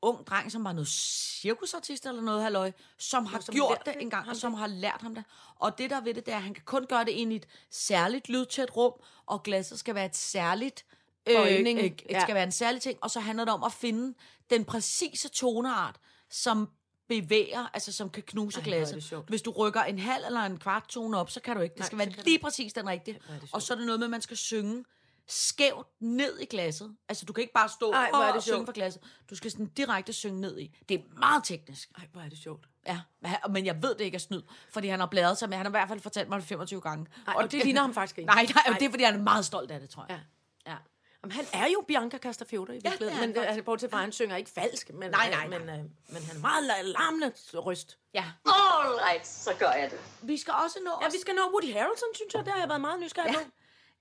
Speaker 4: ung dreng, som var noget cirkusartist eller noget halløj, som har som
Speaker 3: som
Speaker 4: gjort
Speaker 3: lærte
Speaker 4: det en gang,
Speaker 3: ham
Speaker 4: og
Speaker 3: det.
Speaker 4: som har lært ham det. Og det der er ved det, det er, at han kan kun gøre det ind i et særligt lydtæt rum, og glasset skal være et særligt...
Speaker 3: Bøjning.
Speaker 4: det skal
Speaker 3: Ja.
Speaker 4: være en særlig ting, og så handler det om at finde den præcise toneart, som bevæger, altså som kan knuse
Speaker 3: Ej, hvor er det
Speaker 4: glasset.
Speaker 3: sjovt.
Speaker 4: Hvis du rykker en halv eller en kvart tone op, så kan du ikke. Det skal
Speaker 3: Nej,
Speaker 4: være
Speaker 3: så kan du
Speaker 4: lige præcis den rigtige.
Speaker 3: hvor er det
Speaker 4: Og så er det noget med, at man skal synge skævt ned i glasset. Altså, du kan ikke bare stå
Speaker 3: Ej, hvor er
Speaker 4: og
Speaker 3: det
Speaker 4: synge
Speaker 3: sjovt.
Speaker 4: for glasset. Du skal sådan direkte synge ned i. Det er meget teknisk.
Speaker 3: <laughs> Ej, hvor er det sjovt.
Speaker 4: Ja, men han- men jeg ved det ikke er snyd, fordi han har bladret sig med. Han har i hvert fald fortalt mig det 25 gange.
Speaker 3: Ej, og det ligner ham faktisk ikke.
Speaker 4: Nej, nej, og
Speaker 3: Nej.
Speaker 4: det er, fordi han er meget stolt af det, tror jeg.
Speaker 3: Ja. ja. Jamen, han er jo Bianca Castafiore i virkeligheden.
Speaker 4: det er
Speaker 3: Ja,
Speaker 4: han
Speaker 3: men det,
Speaker 4: faktisk.
Speaker 3: altså, bortset fra, at han synger ikke falsk. Men,
Speaker 4: Nej, nej, nej.
Speaker 3: Men, øh, men han har meget la- larmende røst.
Speaker 4: ja.
Speaker 2: All right, så gør jeg det.
Speaker 4: Vi skal også nå...
Speaker 3: Ja, vi skal nå Woody Harrelson, synes jeg. Det har jeg været meget nysgerrig på.
Speaker 4: Ja.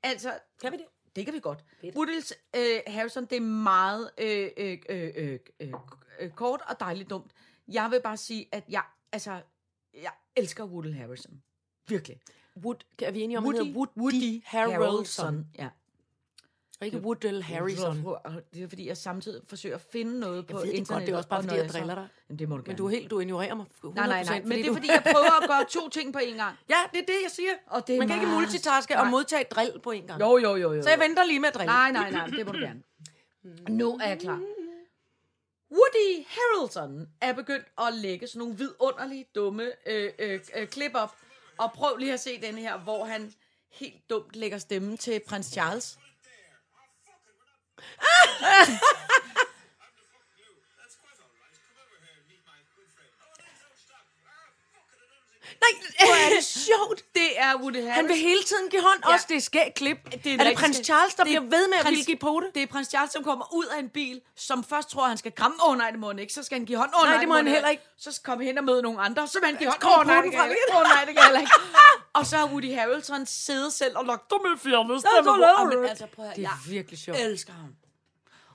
Speaker 4: Altså,
Speaker 3: Kan vi det?
Speaker 4: det kan vi godt. Woodils øh, Harrison, det er meget øh, øh, øh, øh, øh, øh, kort og dejligt dumt. Jeg vil bare sige, at jeg, altså, jeg elsker Woodil Harrison. Virkelig.
Speaker 3: Wood, er vi enige om,
Speaker 4: Woody,
Speaker 3: han hedder Woody,
Speaker 4: Woody
Speaker 3: Harrelson?
Speaker 4: Ja.
Speaker 3: Og ikke Woodell Harrison.
Speaker 4: Det er fordi, jeg samtidig forsøger at finde noget på
Speaker 3: ved det godt,
Speaker 4: internettet.
Speaker 3: det er også bare,
Speaker 4: og
Speaker 3: fordi
Speaker 4: når
Speaker 3: jeg
Speaker 4: så-
Speaker 3: driller dig.
Speaker 4: Jamen, det må du gerne.
Speaker 3: Men du, er helt, du ignorerer mig 100%.
Speaker 4: nej, nej, nej. Men det er
Speaker 3: du- <laughs>
Speaker 4: fordi, jeg prøver at gøre to ting på én gang.
Speaker 3: Ja, det er det, jeg siger.
Speaker 4: Og det er
Speaker 3: Man kan ikke
Speaker 4: meget-
Speaker 3: multitaske og
Speaker 4: Nej.
Speaker 3: modtage et drill på en gang.
Speaker 4: Jo, jo, jo, jo.
Speaker 3: Så jeg venter lige med at drille.
Speaker 4: Nej, nej, nej, det må du gerne.
Speaker 3: Mm.
Speaker 4: Nu er jeg klar. Woody Harrelson er begyndt at lægge sådan nogle vidunderlige, dumme øh, øh, øh, klip op. Og prøv lige at se den her, hvor han helt dumt lægger stemmen til prins Charles.
Speaker 3: nej hvor er det sjovt.
Speaker 4: Det er Woody Harrelson.
Speaker 3: <laughs> Han vil hele tiden give hånd,
Speaker 4: Ja.
Speaker 3: ja. også det er skægt klip. Det er, er det
Speaker 4: rigtig
Speaker 3: prins
Speaker 4: skægt.
Speaker 3: Charles, der
Speaker 4: Det
Speaker 3: det
Speaker 4: er
Speaker 3: bliver ved med at
Speaker 4: prins-
Speaker 3: ville give på det?
Speaker 4: Det er prins Charles, som kommer ud af en bil, som først tror, han skal kramme. Åh oh, nej, det må han ikke. Så skal han give hånd. Åh oh,
Speaker 3: Nej,
Speaker 4: nej,
Speaker 3: det må han heller ikke.
Speaker 4: Så kommer hen og møde nogle andre. Så vil han give hånd.
Speaker 3: kommer
Speaker 4: Åh oh, nej, det
Speaker 3: poten frem
Speaker 4: kan jeg ikke. Åh oh, nej, det kan jeg heller ikke. Og så har Woody Harrelson siddet selv og lagt dem med fjernet
Speaker 3: så laver du
Speaker 4: stemme.
Speaker 3: det.
Speaker 4: Altså, prøv at,
Speaker 3: Det
Speaker 4: jeg
Speaker 3: er virkelig sjovt.
Speaker 4: elsker ham.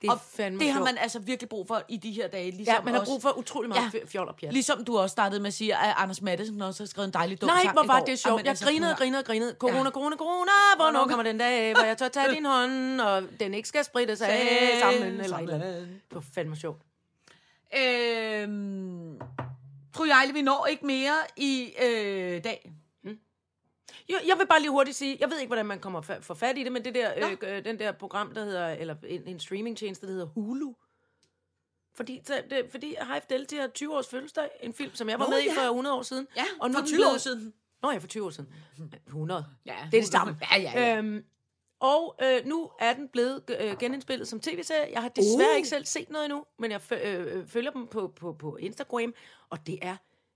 Speaker 3: Det
Speaker 4: Og
Speaker 3: er fandme
Speaker 4: det har
Speaker 3: sjovt.
Speaker 4: man altså virkelig brug for i de her dage. Ligesom
Speaker 3: Ja, man har
Speaker 4: også-
Speaker 3: brug for utrolig meget
Speaker 4: Ja.
Speaker 3: ja. fjol og pjat.
Speaker 4: Ligesom du også startede med at sige, at Anders Madsen også har skrevet en dejlig dum
Speaker 3: Nej,
Speaker 4: sang
Speaker 3: hvor
Speaker 4: i
Speaker 3: var
Speaker 4: går.
Speaker 3: det sjovt.
Speaker 4: Jamen,
Speaker 3: Jeg
Speaker 4: altså,
Speaker 3: grinede,
Speaker 4: prøv at-
Speaker 3: grinede, grinede. Corona, corona, corona. Hvornår kommer den dag, hvor jeg tør tage din hånd, og den ikke skal spritte sig af sammen? Eller et eller andet. Det var fandme sjovt.
Speaker 4: Øhm, Fru Ejle, vi når ikke mere i øh, dag.
Speaker 3: Jeg, jeg vil bare lige hurtigt sige, jeg ved ikke, hvordan man kommer fa- for fat i det, men det der, øh, øh, den der program, der hedder, eller en, en streamingtjeneste, der hedder Hulu, Fordi, så- det, fordi High Fidelity har 20 års fødselsdag, en film, som jeg var
Speaker 4: Nå,
Speaker 3: med i
Speaker 4: ja.
Speaker 3: for 100 år siden.
Speaker 4: Ja,
Speaker 3: og nu
Speaker 4: for
Speaker 3: er den
Speaker 4: 20
Speaker 3: blevet-
Speaker 4: år siden.
Speaker 3: Nå ja, for 20 år
Speaker 4: <laughs>
Speaker 3: siden. 100.
Speaker 4: Ja,
Speaker 3: det er det samme.
Speaker 4: Ja, ja, ja.
Speaker 3: Øhm, og øh, nu er den blevet øh, genindspillet som tv-serie. Jeg har desværre
Speaker 4: Uh.
Speaker 3: uh. ikke selv set noget endnu, men jeg fø- øh, øh, følger dem på, på, på Instagram, og det er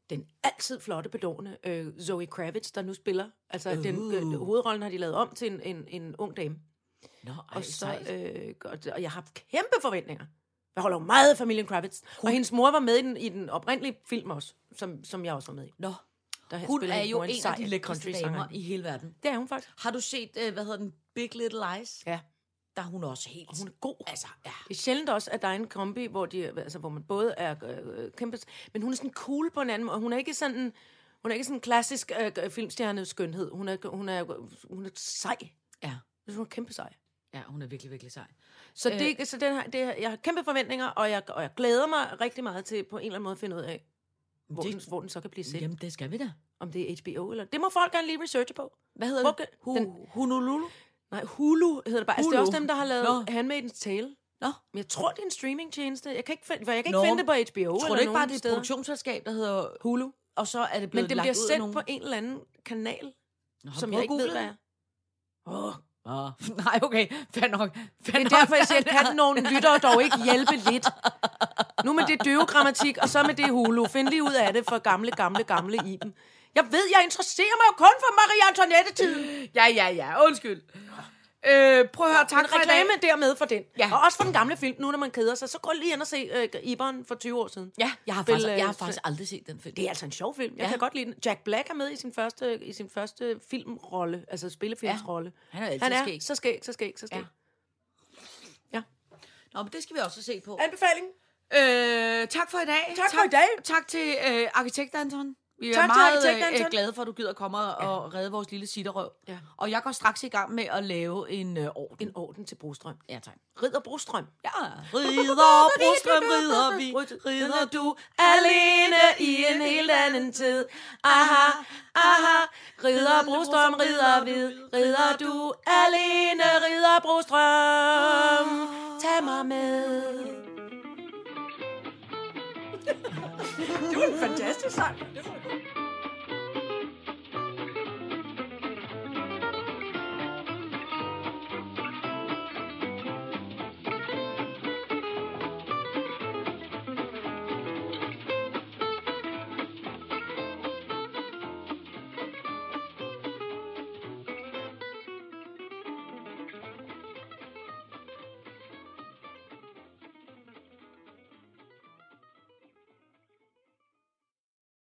Speaker 3: den altid flotte, bedående øh, Zoe Kravitz, der nu spiller. Altså, uh. den øh, hovedrollen har de lavet om til en, en, en ung dame.
Speaker 4: Nå, ej,
Speaker 3: Og, så,
Speaker 4: sejt.
Speaker 3: øh, og, og jeg har haft kæmpe forventninger. Jeg holder jo meget af familien Kravitz. Og hendes mor var med i den, i den oprindelige film også, som, som jeg også var med i.
Speaker 4: Nå,
Speaker 3: Der
Speaker 4: hun
Speaker 3: spiller
Speaker 4: er
Speaker 3: hendes
Speaker 4: jo
Speaker 3: mor
Speaker 4: en af
Speaker 3: sej
Speaker 4: de lækreste
Speaker 3: country-sanger.
Speaker 4: damer i hele verden.
Speaker 3: Det er hun faktisk.
Speaker 4: Har du set, øh, hvad hedder den, Big Little Lies?
Speaker 3: Ja.
Speaker 4: Der er hun også helt...
Speaker 3: Hun er god.
Speaker 4: Altså, ja.
Speaker 3: Det er sjældent også, at der er en kombi, hvor, de, altså, hvor man både er øh, kæmpe... Men hun er sådan cool på en anden måde. Hun er ikke sådan... Hun er ikke sådan en klassisk øh, filmstjerne skønhed. Hun er, hun, er, hun er sej.
Speaker 4: ja.
Speaker 3: Jeg synes, Hun er kæmpe sej.
Speaker 4: Ja, hun er virkelig, virkelig sej.
Speaker 3: Så, det,
Speaker 4: Øh.
Speaker 3: så den her, det her, jeg har kæmpe forventninger, og jeg, og jeg glæder mig rigtig meget til på en eller anden måde at finde ud af, hvor,
Speaker 4: Det-
Speaker 3: den, hvor den så kan blive set.
Speaker 4: Jamen, det skal vi da.
Speaker 3: Om det er HBO eller... Det må folk gerne lige researche på.
Speaker 4: Hvad hedder
Speaker 3: Hvor
Speaker 4: det?
Speaker 3: kan-
Speaker 4: Hu,
Speaker 3: den-
Speaker 4: Honolulu?
Speaker 3: Nej, Hulu hedder det bare. Altså, det er
Speaker 4: Hulu.
Speaker 3: også dem, der har lavet
Speaker 4: Nå.
Speaker 3: no. Handmaidens Tale.
Speaker 4: Nå,
Speaker 3: Men jeg tror, det er en streamingtjeneste. Jeg kan ikke, find, jeg kan ikke
Speaker 4: Nå.
Speaker 3: finde det på HBO
Speaker 4: tror
Speaker 3: eller
Speaker 4: du ikke bare,
Speaker 3: nogen
Speaker 4: det er et
Speaker 3: steder.
Speaker 4: produktionsselskab, der hedder Hulu? Og så er det blevet
Speaker 3: Men det
Speaker 4: lagt
Speaker 3: bliver
Speaker 4: ud af
Speaker 3: sendt
Speaker 4: nogen...
Speaker 3: på en eller anden kanal,
Speaker 4: Nå,
Speaker 3: som jeg ikke ved, hvad er.
Speaker 4: Åh, oh. <laughs> nej, okay. Fair nok. Fair
Speaker 3: Det er derfor,
Speaker 4: <laughs>
Speaker 3: jeg siger, kan nogen lyttere dog ikke hjælpe lidt? Nu med det døve grammatik, og så med det hulu. Find lige ud af det for gamle, gamle, gamle Iben. Jeg ved, jeg interesserer mig jo kun for Marie Antoinette-tiden.
Speaker 4: Ja, ja, ja. Undskyld. Øh, prøv at høre, tak
Speaker 3: Tak
Speaker 4: for i dag.
Speaker 3: reklame dermed for den.
Speaker 4: Ja.
Speaker 3: Ja. Og også for den gamle film, nu når man keder sig. Så gå lige ind og se øh, Iberen for 20 år siden.
Speaker 4: Ja, jeg har,
Speaker 3: Spil,
Speaker 4: faktisk,
Speaker 3: øh,
Speaker 4: jeg har faktisk aldrig set den film.
Speaker 3: Det er altså en sjov film. Jeg
Speaker 4: Ja.
Speaker 3: ja. kan godt lide den. Jack Black er med i sin første, i sin første filmrolle, altså spillefilmsrolle.
Speaker 4: Han er altid
Speaker 3: Han er
Speaker 4: skæg.
Speaker 3: så skæg, så skæg, så skæg.
Speaker 4: Ja.
Speaker 3: Ja.
Speaker 4: Nå, men det skal vi også se på.
Speaker 3: Anbefaling?
Speaker 4: Øh, tak for i dag.
Speaker 3: Tak for i dag.
Speaker 4: Tak til øh, arkitekt Anton. Vi er
Speaker 3: Tak til
Speaker 4: meget
Speaker 3: arkitekt
Speaker 4: øh,
Speaker 3: Anton.
Speaker 4: glade for, at du gider komme og, og redde vores lille sitterøv.
Speaker 3: Ja.
Speaker 4: Og jeg går straks i gang med at lave en øh, orden.
Speaker 3: En orden til Brostrøm.
Speaker 4: Ja, tak.
Speaker 3: Ridder Brostrøm.
Speaker 4: Ja. Rider,
Speaker 3: <laughs>
Speaker 4: brostrøm, rider vi. Rider du
Speaker 3: Alene i en helt anden tid. Aha, aha. Ridder Brostrøm, ridder hvid. Ridder du alene, Ah. ridder Brostrøm. Tag mig med. Det var en fantastisk sang. Det var